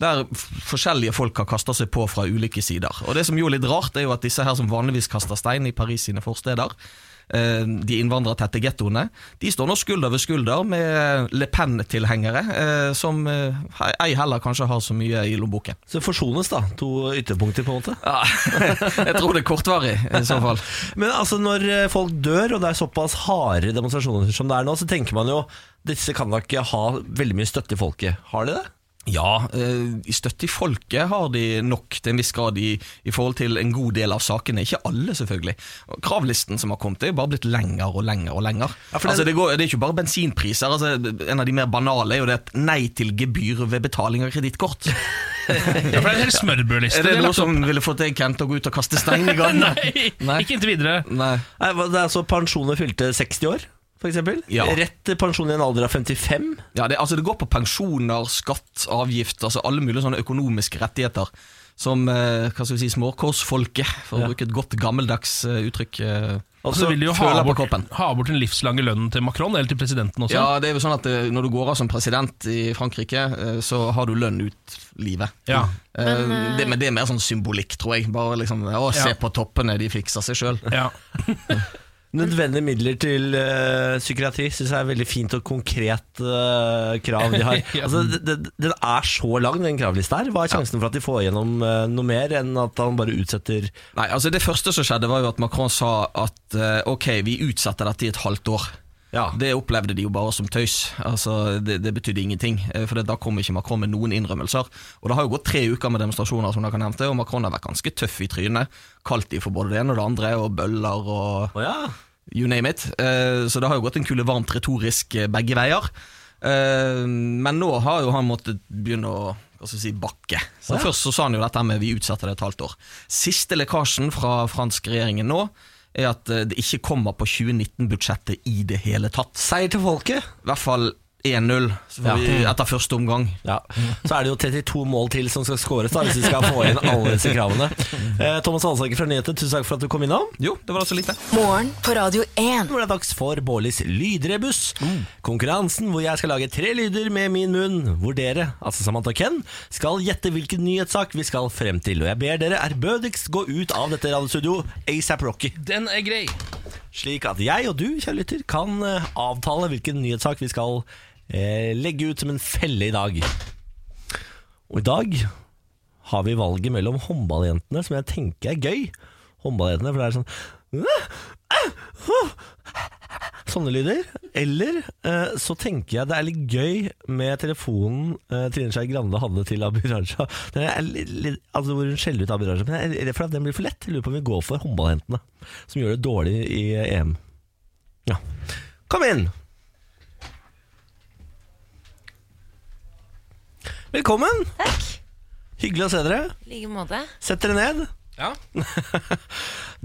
der f- forskjellige folk har kasta seg på fra ulike sider. Og Det som jo er litt rart, er jo at disse her som vanligvis kaster stein i Paris sine forsteder, eh, de innvandrertette gettoene, de står nå skulder ved skulder med Eh, Le Pen-tilhengere, eh, som eh, ei heller kanskje har så mye i lommeboken.
Så forsones, da. To ytterpunkter, på en måte.
Ja, jeg tror det er kortvarig, i så fall.
Men altså, når eh, folk dør, og det er såpass harde demonstrasjoner som det er nå, så tenker man jo disse kan da ikke ha veldig mye støtte i folket. Har de det?
Ja, eh, i støtte i folket har de nok til en viss grad i, i forhold til en god del av sakene. Ikke alle, selvfølgelig. Og Kravlisten som har kommet, er jo bare blitt lengre og lengre og lengre.
for
altså,
den-
det, går, det er ikke bare bensinpriser. Altså, en av de mer banale er jo det at nei til gebyr ved betaling av kredittkort.
Ja, for det er en hel smørbrødliste.
Er det
de har
noe
lagt opp.
som ville fått deg, Kent, å gå ut og kaste stein i gatene?
Nei, ikke inntil videre.
Nei.
Nei, hva- Det er altså pensjoner fylte 60 år, f.eks.
Ja.
Rett til pensjon i en alder av 55.
Ja, det, altså det går på pensjoner, skatt, avgift, altså alle mulige sånne økonomiske rettigheter. Som eh, hva skal vi si, småkårsfolket, for å bruke et godt gammeldags eh, uttrykk. Eh,
Og
Altså,
så Altså, vil de jo ha
føler på
bort,
kroppen.
ha bort den livslange lønnen til Macron, eller til presidenten også.
Ja, det er jo sånn at eh, Når du går av som president i Frankrike, eh, så har du lønn ut livet.
Ja.
Eh, det, men det er mer sånn symbolikk, tror jeg. Bare liksom, Å, se
Ja.
på toppene, de fikser seg sjøl.
Ja.
Nødvendige midler til eh, psykiatri syns jeg er veldig fint og konkret eh, krav de har.
Ja.
altså, det- det- Den er så lang, den kravlista her. Hva er sjansen for at de får gjennom eh, noe mer enn at han bare utsetter
Nei, altså Det første som skjedde, var jo at Macron sa at eh, ok, vi utsetter dette i et halvt år.
Ja,
Det opplevde de jo bare som tøys. Altså, det, det betydde ingenting. eh, For det- da kom ikke Macron med noen innrømmelser. Og Det har jo gått tre uker med demonstrasjoner, som dere nevnte, og Macron har vært ganske tøff i trynet. Kalt de for både det ene og det andre, og bøller og
Å ja.
you name it. Eh, Så det har jo gått en kule varmt retorisk eh, begge veier. Eh, Men nå har jo han måttet begynne å hva skal jeg si, bakke. Så Først så sa han jo dette med vi utsetter det et halvt år. Siste lekkasjen fra fransk regjeringen nå er at eh, det ikke kommer på 2019-budsjettet i det hele tatt.
Seier til folket.
I hvert fall 1-0 så får
Ja.
vi- etter første omgang.
Ja. Så er det jo 32 mål til som skal skåres, da, hvis vi skal få inn alle disse kravene. Eh, Thomas Alsaker fra Nyheter, tusen takk for at du kom innom.
Jo, det var da så lite.
Morgen på Radio 1.
Nå er det dags for Bårlis lydrebuss. Konkurransen hvor jeg skal lage tre lyder med min munn, hvor dere, altså Samantha og Ken, skal gjette hvilken nyhetssak vi skal frem til. Og jeg ber dere ærbødigst gå ut av dette radiostudio ASAP Rocky,
Den er grei.
slik at jeg og du, kjære lytter, kan eh, avtale hvilken nyhetssak vi skal eh, legge ut som en felle i dag. Og i dag har vi valget mellom håndballjentene, som jeg tenker er gøy. Håndballjentene, for det er sånn Sånne lyder. Eller eh, så tenker jeg det er litt gøy med telefonen eh, Trine Skei Grande hadde til Abid Raja. Den er litt, litt, altså hvor hun skjeller ut Abid Raja. Men jeg er redd for at den blir for lett. Jeg lurer på om vi går for håndballjentene, som gjør det dårlig i EM. Ja. Kom inn! Velkommen! Takk Hyggelig å se dere.
I like måte.
Sett dere ned.
Ja.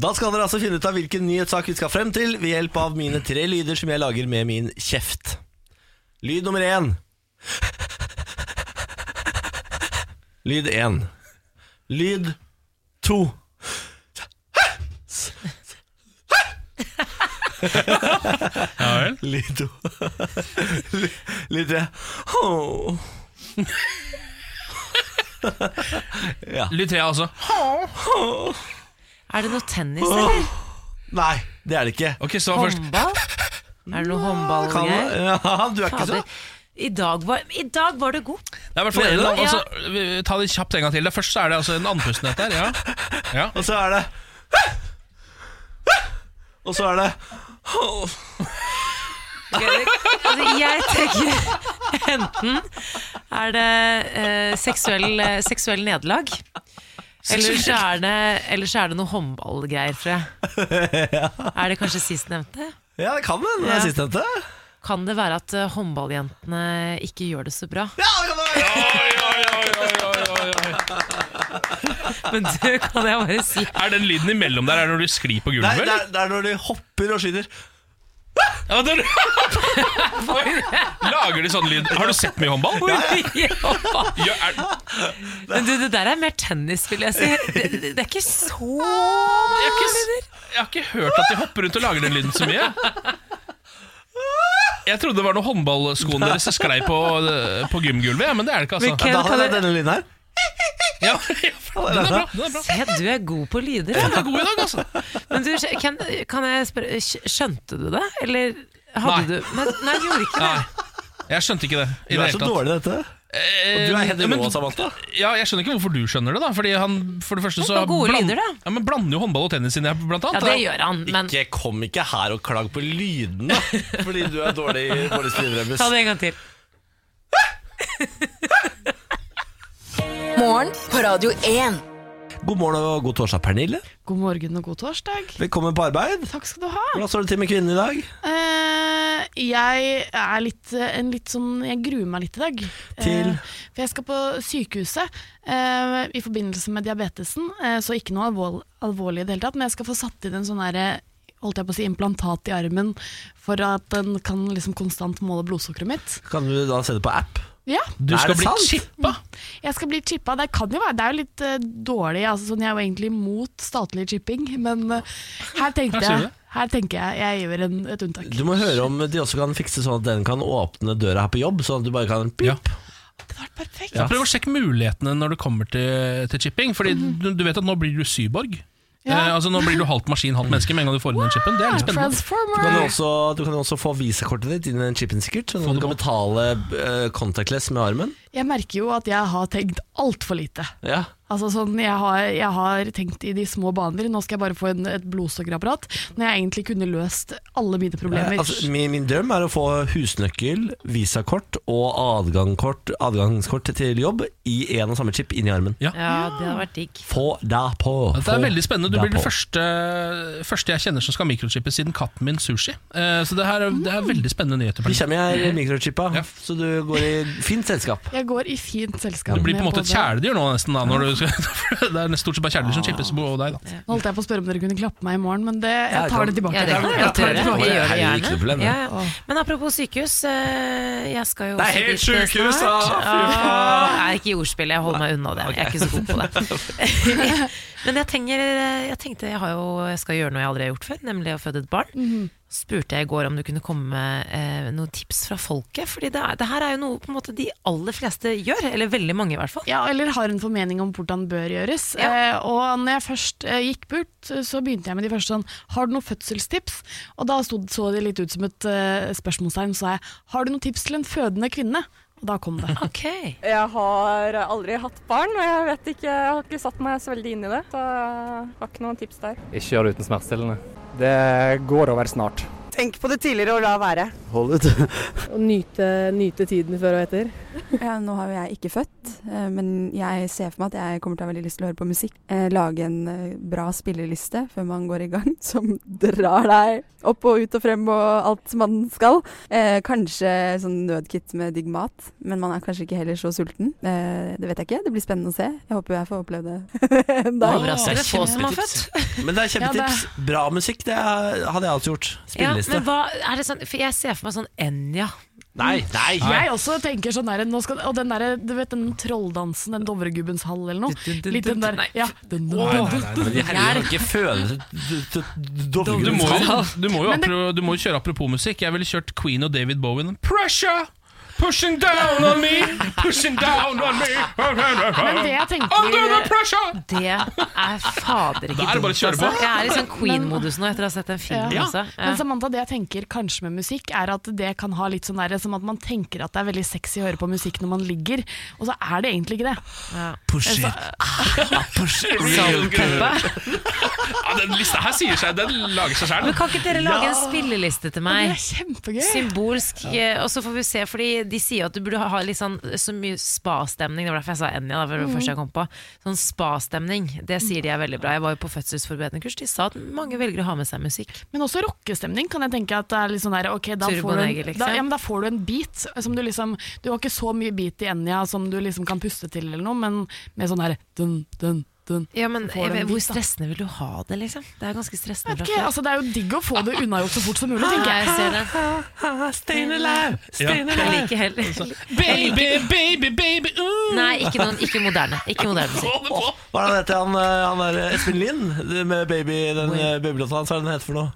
Da skal dere altså finne ut av hvilken nyhetssak vi skal frem til ved hjelp av mine tre lyder som jeg lager med min kjeft. Lyd nummer én. Lyd én. Lyd to.
Ja vel.
Lyd to. Lyd tre. Åh.
Lytt tre, altså.
Er det noe tennis, eller?
Nei, det er det ikke.
Ok, så
Håndball? Er det noe håndballgreier?
Ja, du er ikke så
Fader. I dag, var, I dag var du god.
Det er i hvert fall en, da. altså, vi- Ta det kjapt en gang til. Det første er det altså en andpusten dette her. Ja. Ja.
Og så er det Og så er det
Altså, jeg tenker enten er det eh, seksuell, eh, seksuell nederlag, eller så er det, eller så er det noe håndballgreier, tror jeg. Er det kanskje sistnevnte?
Ja, det kan hende det
Ja.
er sistnevnte.
Kan det være at eh, håndballjentene ikke gjør det så bra?
Ja, det kan det være.
Men du kan jeg bare si
Er den lyden imellom der er det når du sklir på
Nei,
gulvet?
det er,
eller?
det er når de hopper og skyter.
Ja, det er- Lager de sånn lyd? Har du sett mye håndball? Ja, er,
Men du, det der er mer tennis, vil jeg si. Det, det, det er ikke så mange
jeg, har ikke, s- jeg har ikke hørt at de hopper rundt og lager den lyden så mye. Jeg trodde det var når håndballskoene deres sklei på, eh, på gymgulvet, ja, men det er det ikke.
Men
altså
Ken,
Da
kan
hadde jeg
jeg-
denne lyden her.
ja, Den er bra. Den er bra.
Se, du er god på lyder.
Den er god i dag, altså.
Men du, Ken, kan jeg spørre, skj- skjønte du det? Eller
Nei.
hadde du Nei, nei du gjorde ikke det.
Nei, jeg skjønte ikke det. I
Du
det
er så
hele tatt.
dårlig i dette. Og
Eh,
du er helt
Ja, men-
rå, Samantha.
Ja, jeg skjønner ikke hvorfor du skjønner det, da. Fordi han, for det første så
Det var gode
bland-
lyder, da.
Ja, men blander jo håndball og tennis inn i her, blant
Ja,
annet.
det gjør han, men
Ikke kom ikke her og klag på lydene fordi du er dårlig, dårlig spillerebus.
ta det en gang til.
Morgen på Radio 1.
God morgen og god torsdag, Pernille.
God morgen og god torsdag.
Velkommen på arbeid.
Takk skal du ha.
Hvordan står det til med kvinnen i dag?
Eh, jeg er litt, en litt sånn Jeg gruer meg litt i dag. Eh,
Til?
for jeg skal på sykehuset eh, i forbindelse med diabetesen, eh, så ikke noe alvor, alvorlig i det hele tatt. Men jeg skal få satt inn en sånn derre Holdt jeg på å si implantat i armen for at den kan liksom konstant måle blodsukkeret mitt.
Kan du da se det på app?
Ja,
Du
Er
skal
det
bli
sant?
chippa.
jeg skal bli chippa. Det kan jo være Det er jo litt eh, dårlig. Altså, sånn, jeg er jo egentlig imot statlig chipping, men eh, her tenkte
Her sier du
jeg
det.
her tenker jeg jeg gjør en, et unntak.
Du må høre om de også kan fikse sånn at den kan åpne døra her på jobb, sånn at du bare kan pip.
Ja.
Det var perfekt.
Så prøv å sjekke mulighetene når det kommer til, til chipping. Fordi du, du vet at nå blir du syborg.
Mm. Ja.
Eh, altså Nå blir du halvt maskin, halvt menneske med en gang du får inn den chipen. Det er litt spennende.
Du kan, jo
Transformer!
også, du kan jo også få visakortet ditt inn i den chipen sikkert, sånn
Få
at du
det
kan
på.
betale eh, contactless med armen.
Jeg merker jo at jeg har tenkt altfor lite.
Ja.
Altså sånn, jeg har, jeg har tenkt i de små baner, nå skal jeg bare få en, et blodsukkerapparat, når jeg egentlig kunne løst alle mine problemer.
Altså, min, min drøm er å få husnøkkel, visakort og adgangkort, adgangskort til jobb i en og samme chip inn i armen.
Ja, det hadde vært digg.
Få deg på!
Det er
Få
veldig spennende. Du
deg
blir den
på.
første, første jeg kjenner som skal mikrochippe siden katten min sushi. Eh, så det her er- det
Mm.
er veldig spennende nyheter.
Vi kommer her mikrochippa,
Ja.
så du går i fint selskap.
jeg går i fint selskap.
Du blir på en
med
måte et
både- Ah.
kjæledyr nå, nesten. da når du skal, Det er nesten stort sett bare kjæledyr som chippes på deg. da
Nå holdt jeg på å spørre om dere kunne klappe meg i morgen, men det,
kan-
jeg tar det tilbake.
Ja, det kan jeg godt
tar
gjøre.
det tilbake.
Jeg gjør det
Herregud, ikke noe problem,
gjerne.
det.
Ja, ja. Men apropos sykehus, eh, jeg skal jo
Det er
også
helt
dit, eh,
sykehus, da! Fy
snart.
faen.
Åh, Nei, ikke i ordspillet, jeg holder meg unna det. Jeg er ikke så god på det. Men jeg, tenker, eh, jeg tenkte jeg, har jo, jeg skal gjøre noe jeg aldri har gjort før, nemlig å føde et barn. Spurte jeg i går om du kunne komme med eh, noen tips fra folket, Fordi det, er, det her er jo noe på en måte de aller fleste gjør, eller veldig mange i hvert fall.
Ja, eller har en formening om hvordan bør gjøres. Eh, og når jeg først eh, gikk bort, så begynte jeg med de første sånn Har du noen fødselstips? Og da stod, så det litt ut som et eh, spørsmålstegn, så sa jeg Har du noen tips til en fødende kvinne? Og da kom det.
Ok,
Jeg har aldri hatt barn, og jeg vet ikke, jeg har ikke satt meg så veldig inn i det. Så jeg har ikke noen tips der.
Ikke gjør det uten smertestillende. Det går over snart.
Tenk på det tidligere og la være.
Hold ut.
Og nyte, nyte tiden før og etter.
Ja, nå har jo jeg ikke født, eh, men jeg ser for meg at jeg kommer til å ha veldig lyst til å høre på musikk. Eh, Lage en eh, bra spilleliste før man går i gang, som drar deg opp og ut og frem og alt som man skal. Eh, Kanskje sånn nødkit med digg mat, men man er kanskje ikke heller så sulten. Eh, Det vet jeg ikke, det blir spennende å se. Jeg håper jeg får oppleve det en dag.
Overraskende få som har født.
Men det er kjempetips. Bra musikk, det hadde jeg også gjort.
Ja,
Spilleliste.
men hva, er det sånn, for jeg ser for meg sånn Enja.
Nei, nei!
Jeg også tenker sånn der, nå skal, Og den der, du vet den trolldansen, den Dovregubbens hall eller noe. Litt den der, ja. den, den,
Nei,
den,
nei, nei, nei, men herregud, jeg kan ikke føle til- til- til-
Du må,
Dovregubbens hall.
jo, du, må jo apro, du må jo kjøre apropos musikk. Jeg ville kjørt Queen og David Bowen. Pressure! Pushing down on me, pushing down on me
Men det jeg tenker
Under the pressure!
Det er fader ikke
Da er det bare å
dumt,
kjøre på.
altså. Jeg er i sånn Queen-modus nå etter å ha sett den filmen.
Ja.
Altså. Ja.
Men Samantha, det jeg tenker kanskje med musikk, er at det kan ha litt sånn derre som at man tenker at det er veldig sexy å høre på musikk når man ligger, og så er det egentlig ikke det.
Push
Så-
it. Push it
Real
real good. Ja, den lista her sier seg, den lager seg sjøl.
Men kan ikke dere lage en spilleliste til meg?
Det er kjempegøy.
Symbolsk. eh, Og så får vi se, fordi de sier jo at du burde ha litt sånn så mye spa-stemning. Det var derfor jeg sa Enja, da, for det var det
Mm.
første jeg kom på. Sånn spa-stemning, det sier de er veldig bra. Jeg var jo på fødselsforberedende kurs, de sa at mange velger å ha med seg musikk.
Men også rockestemning kan jeg tenke at det er litt sånn der Ok, da
Turbo
får, du en,
Neger, liksom.
da, ja, men da får du en beat som du liksom Du har ikke så mye beat i Enja som du liksom kan puste til eller noe, men med sånn her dun, dun, dun.
Ja, men
så får du en
hvor
beat, da.
stressende vil du ha det, liksom? Det er ganske stressende. Ah,
Ikke, altså, det er jo digg å få det unnagjort så fort som mulig, tenker jeg.
Jeg ser det.
Ah,
Stayin' alive, stayin'
Jeg
alive.
liker heller
Baby, baby, baby ooh.
Nei, ikke, noen, ikke moderne. Ikke moderne musikk.
Hva er det han heter han, eh, han der eh, Espen Lind? det Med baby, den eh, babylåta hans, hva er det den heter for noe?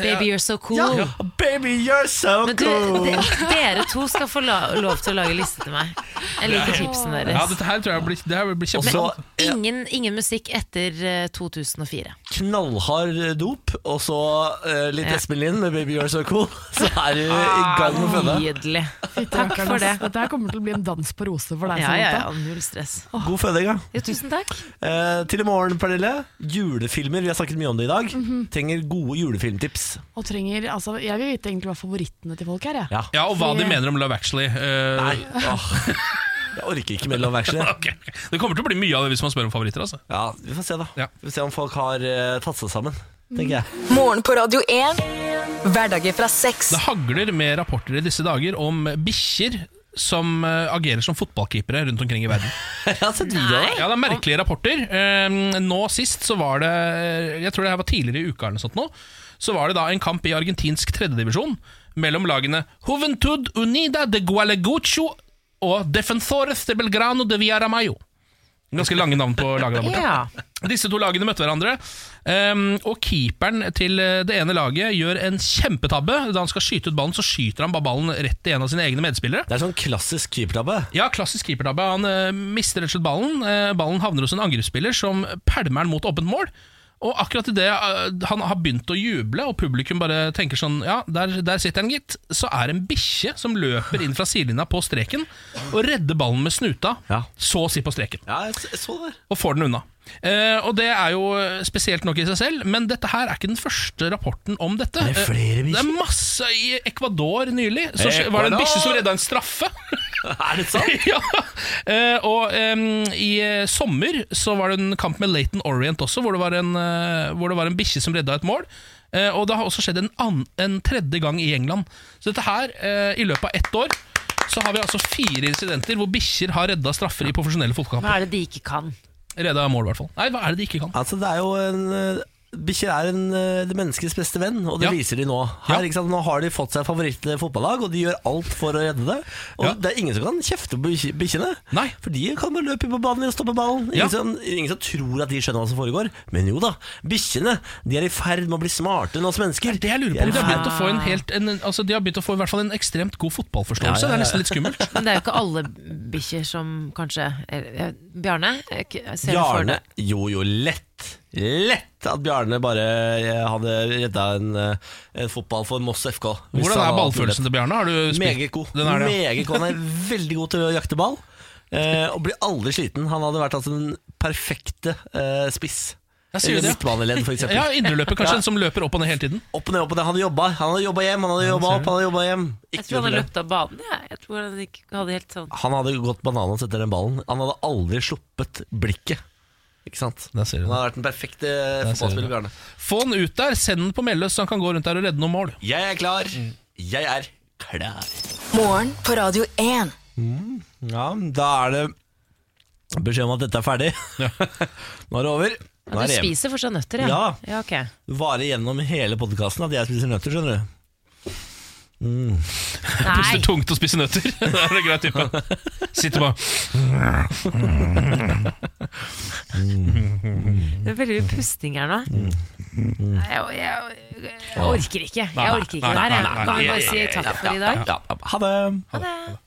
Baby, you're so cool.
Ja, baby, you're so
Men du,
cool!
de, dere to skal få la, lov til å lage liste til meg. Jeg liker tipsene
Ja,
deres.
dette her tror jeg blir, det her blir kjempespennende.
Men ingen, ingen musikk etter eh, 2004.
Knallhard dop, og så eh, litt
Ja.
Espen Lind med 'Baby You're So Cool'. Så er du i gang med å føde.
Nydelig.
Takk
for det.
altså. Dette her kommer til å bli en dans på roser for deg.
Ja, ja, ja,
Samantha.
null stress.
God føding, ja.
Jo, tusen takk.
Eh, til i morgen, Pernille. Julefilmer. Vi har snakket mye om det i dag. Trenger gode julefilmtips.
Mhm. Og trenger, altså, jeg vil vite egentlig hva favorittene til folk er. jeg.
Ja.
Ja, og hva de
Fordi-
mener om Love Actually. eh,
Nei, åh. Jeg orker ikke mer Love Actually.
Ok. Det kommer til å bli mye av det hvis man spør om favoritter. Altså.
Ja, Vi får se, da. Vi får se om folk har eh, tatt seg sammen, tenker
Mm.
jeg.
Morgen på Radio 1. Hverdager fra seks.
Det hagler med rapporter i disse dager om bikkjer som eh, agerer som fotballkeepere rundt omkring i verden. Ja, det er merkelige rapporter. Eh, nå sist så var det Jeg tror det her var tidligere i uka eller noe sånt nå. Så var det da en kamp i argentinsk tredjedivisjon mellom lagene Juventud Unida de Gualegucho og Defensores de Belgrano de Villamayo. Ganske lange navn på laget der borte. Disse to lagene møtte hverandre, ehm, og keeperen til eh, det ene laget gjør en kjempetabbe. Da han skal skyte ut ballen, så skyter han bare ballen rett i en av sine egne medspillere.
Det er sånn klassisk keepertabbe.
Ja, klassisk keepertabbe. Han eh, mister rett og slett ballen. Eh, ballen havner hos en angrepsspiller som pælmer den mot åpent mål. Og akkurat idet uh, han har begynt å juble, og publikum bare tenker sånn Ja, der, der sitter han, gitt. Så er det en bikkje som løper inn fra sidelinja på streken og redder ballen med snuta, så å si på streken. Og får den unna. Eh, og det er jo spesielt nok i seg selv, men dette her er ikke den første rapporten om dette.
Er det
Eh,
flere bikkjer?
det er masse i Ecuador nylig. Så var det en bikkje som redda en straffe.
er det sant?
ja. Eh, og em, i eh, sommer så var det en kamp med Laton Orient også, hvor det var en, eh, hvor det var en bikkje som redda et mål. Eh, og det har også skjedd en, ann- en tredje gang i England. Så dette her, eh, i løpet av ett år, så har vi altså fire incidenter hvor bikkjer har redda straffer i profesjonelle fotballkamper.
Hva er det de ikke kan?
Redda mål, i hvert fall. Nei, hva er det de ikke kan?
Altså, det er jo en eh, Bikkjer er en, eh, det menneskets beste venn, og det
Ja.
viser de nå. Her, ikke sant? Nå har de fått seg favorittfotballag, og de gjør alt for å redde det. Og det er ingen som kan kjefte på bikkje- bikkjene, for de kan bare løpe på banen og stoppe ballen. Ingen,
Ja.
som, ingen som tror at de skjønner hva som foregår. Men jo da, bikkjene de er i ferd med å bli smarte enn oss mennesker.
Det jeg lurer på, om de har begynt å få en helt en, altså De har begynt å få i hvert fall en ekstremt god fotballforståelse.
Ja, ja, ja.
Det er nesten litt skummelt.
Men det er jo ikke alle bikkjer som kanskje er, eh, Bjarne? Jeg k- jeg ser det for
Bjarne
deg.
Jo, jo, lett. Lett at Bjarne bare eh, hadde redda en, eh, en fotball for Moss FK. hvis han
Hvordan er
hadde hatt mulighet.
ballfølelsen til Bjarne? Har du spilt?
Meget god.
Den er det, ja.
Meget god. Han er veldig god til å jakte ball. eh, og blir aldri sliten. Han hadde vært altså den perfekte eh, spiss.
Jeg sier
Eller
det.
midtbaneledd, for eksempel.
Ja, indreløper kanskje, en som løper opp og ned hele tiden.
Opp og ned, opp og ned. Han hadde jobba, han hadde jobba hjem, han hadde jobba opp, han hadde jobba hjem. Ikke Ah,
Jeg tror han
noe
har
problem.
løpt av banen. jeg. Jeg tror han ikke hadde helt sånn
Han hadde gått bananas etter den ballen. Han hadde aldri sluppet blikket. Ikke sant?
Der ser du
Han
det.
hadde vært den perfekte eh,
ser du
fotballspiller,
det.
Bjarne.
Få den ut der, send den på Melløs, så han kan gå rundt der og redde noen mål.
Jeg er klar. Jeg er klar.
Morgen på Radio 1.
Ja, da er det beskjed om at dette er ferdig. Nå er det over. Nå
ja,
er
Du
det hjem.
spiser fortsatt nøtter, ja?
Ja.
ja ok.
Vare gjennom hele podkasten at jeg spiser nøtter, skjønner du. Mm.
Puster tungt og spiser nøtter. Det er en grei type. Sitter bare
Det er veldig mye pusting her nå.
Mm.
Nei, Jeg, jeg, jeg orker ikke. Jeg orker ikke det her. jeg. Kan vi bare si takk for i dag?
Ja, ja. Ha det.
Ha det.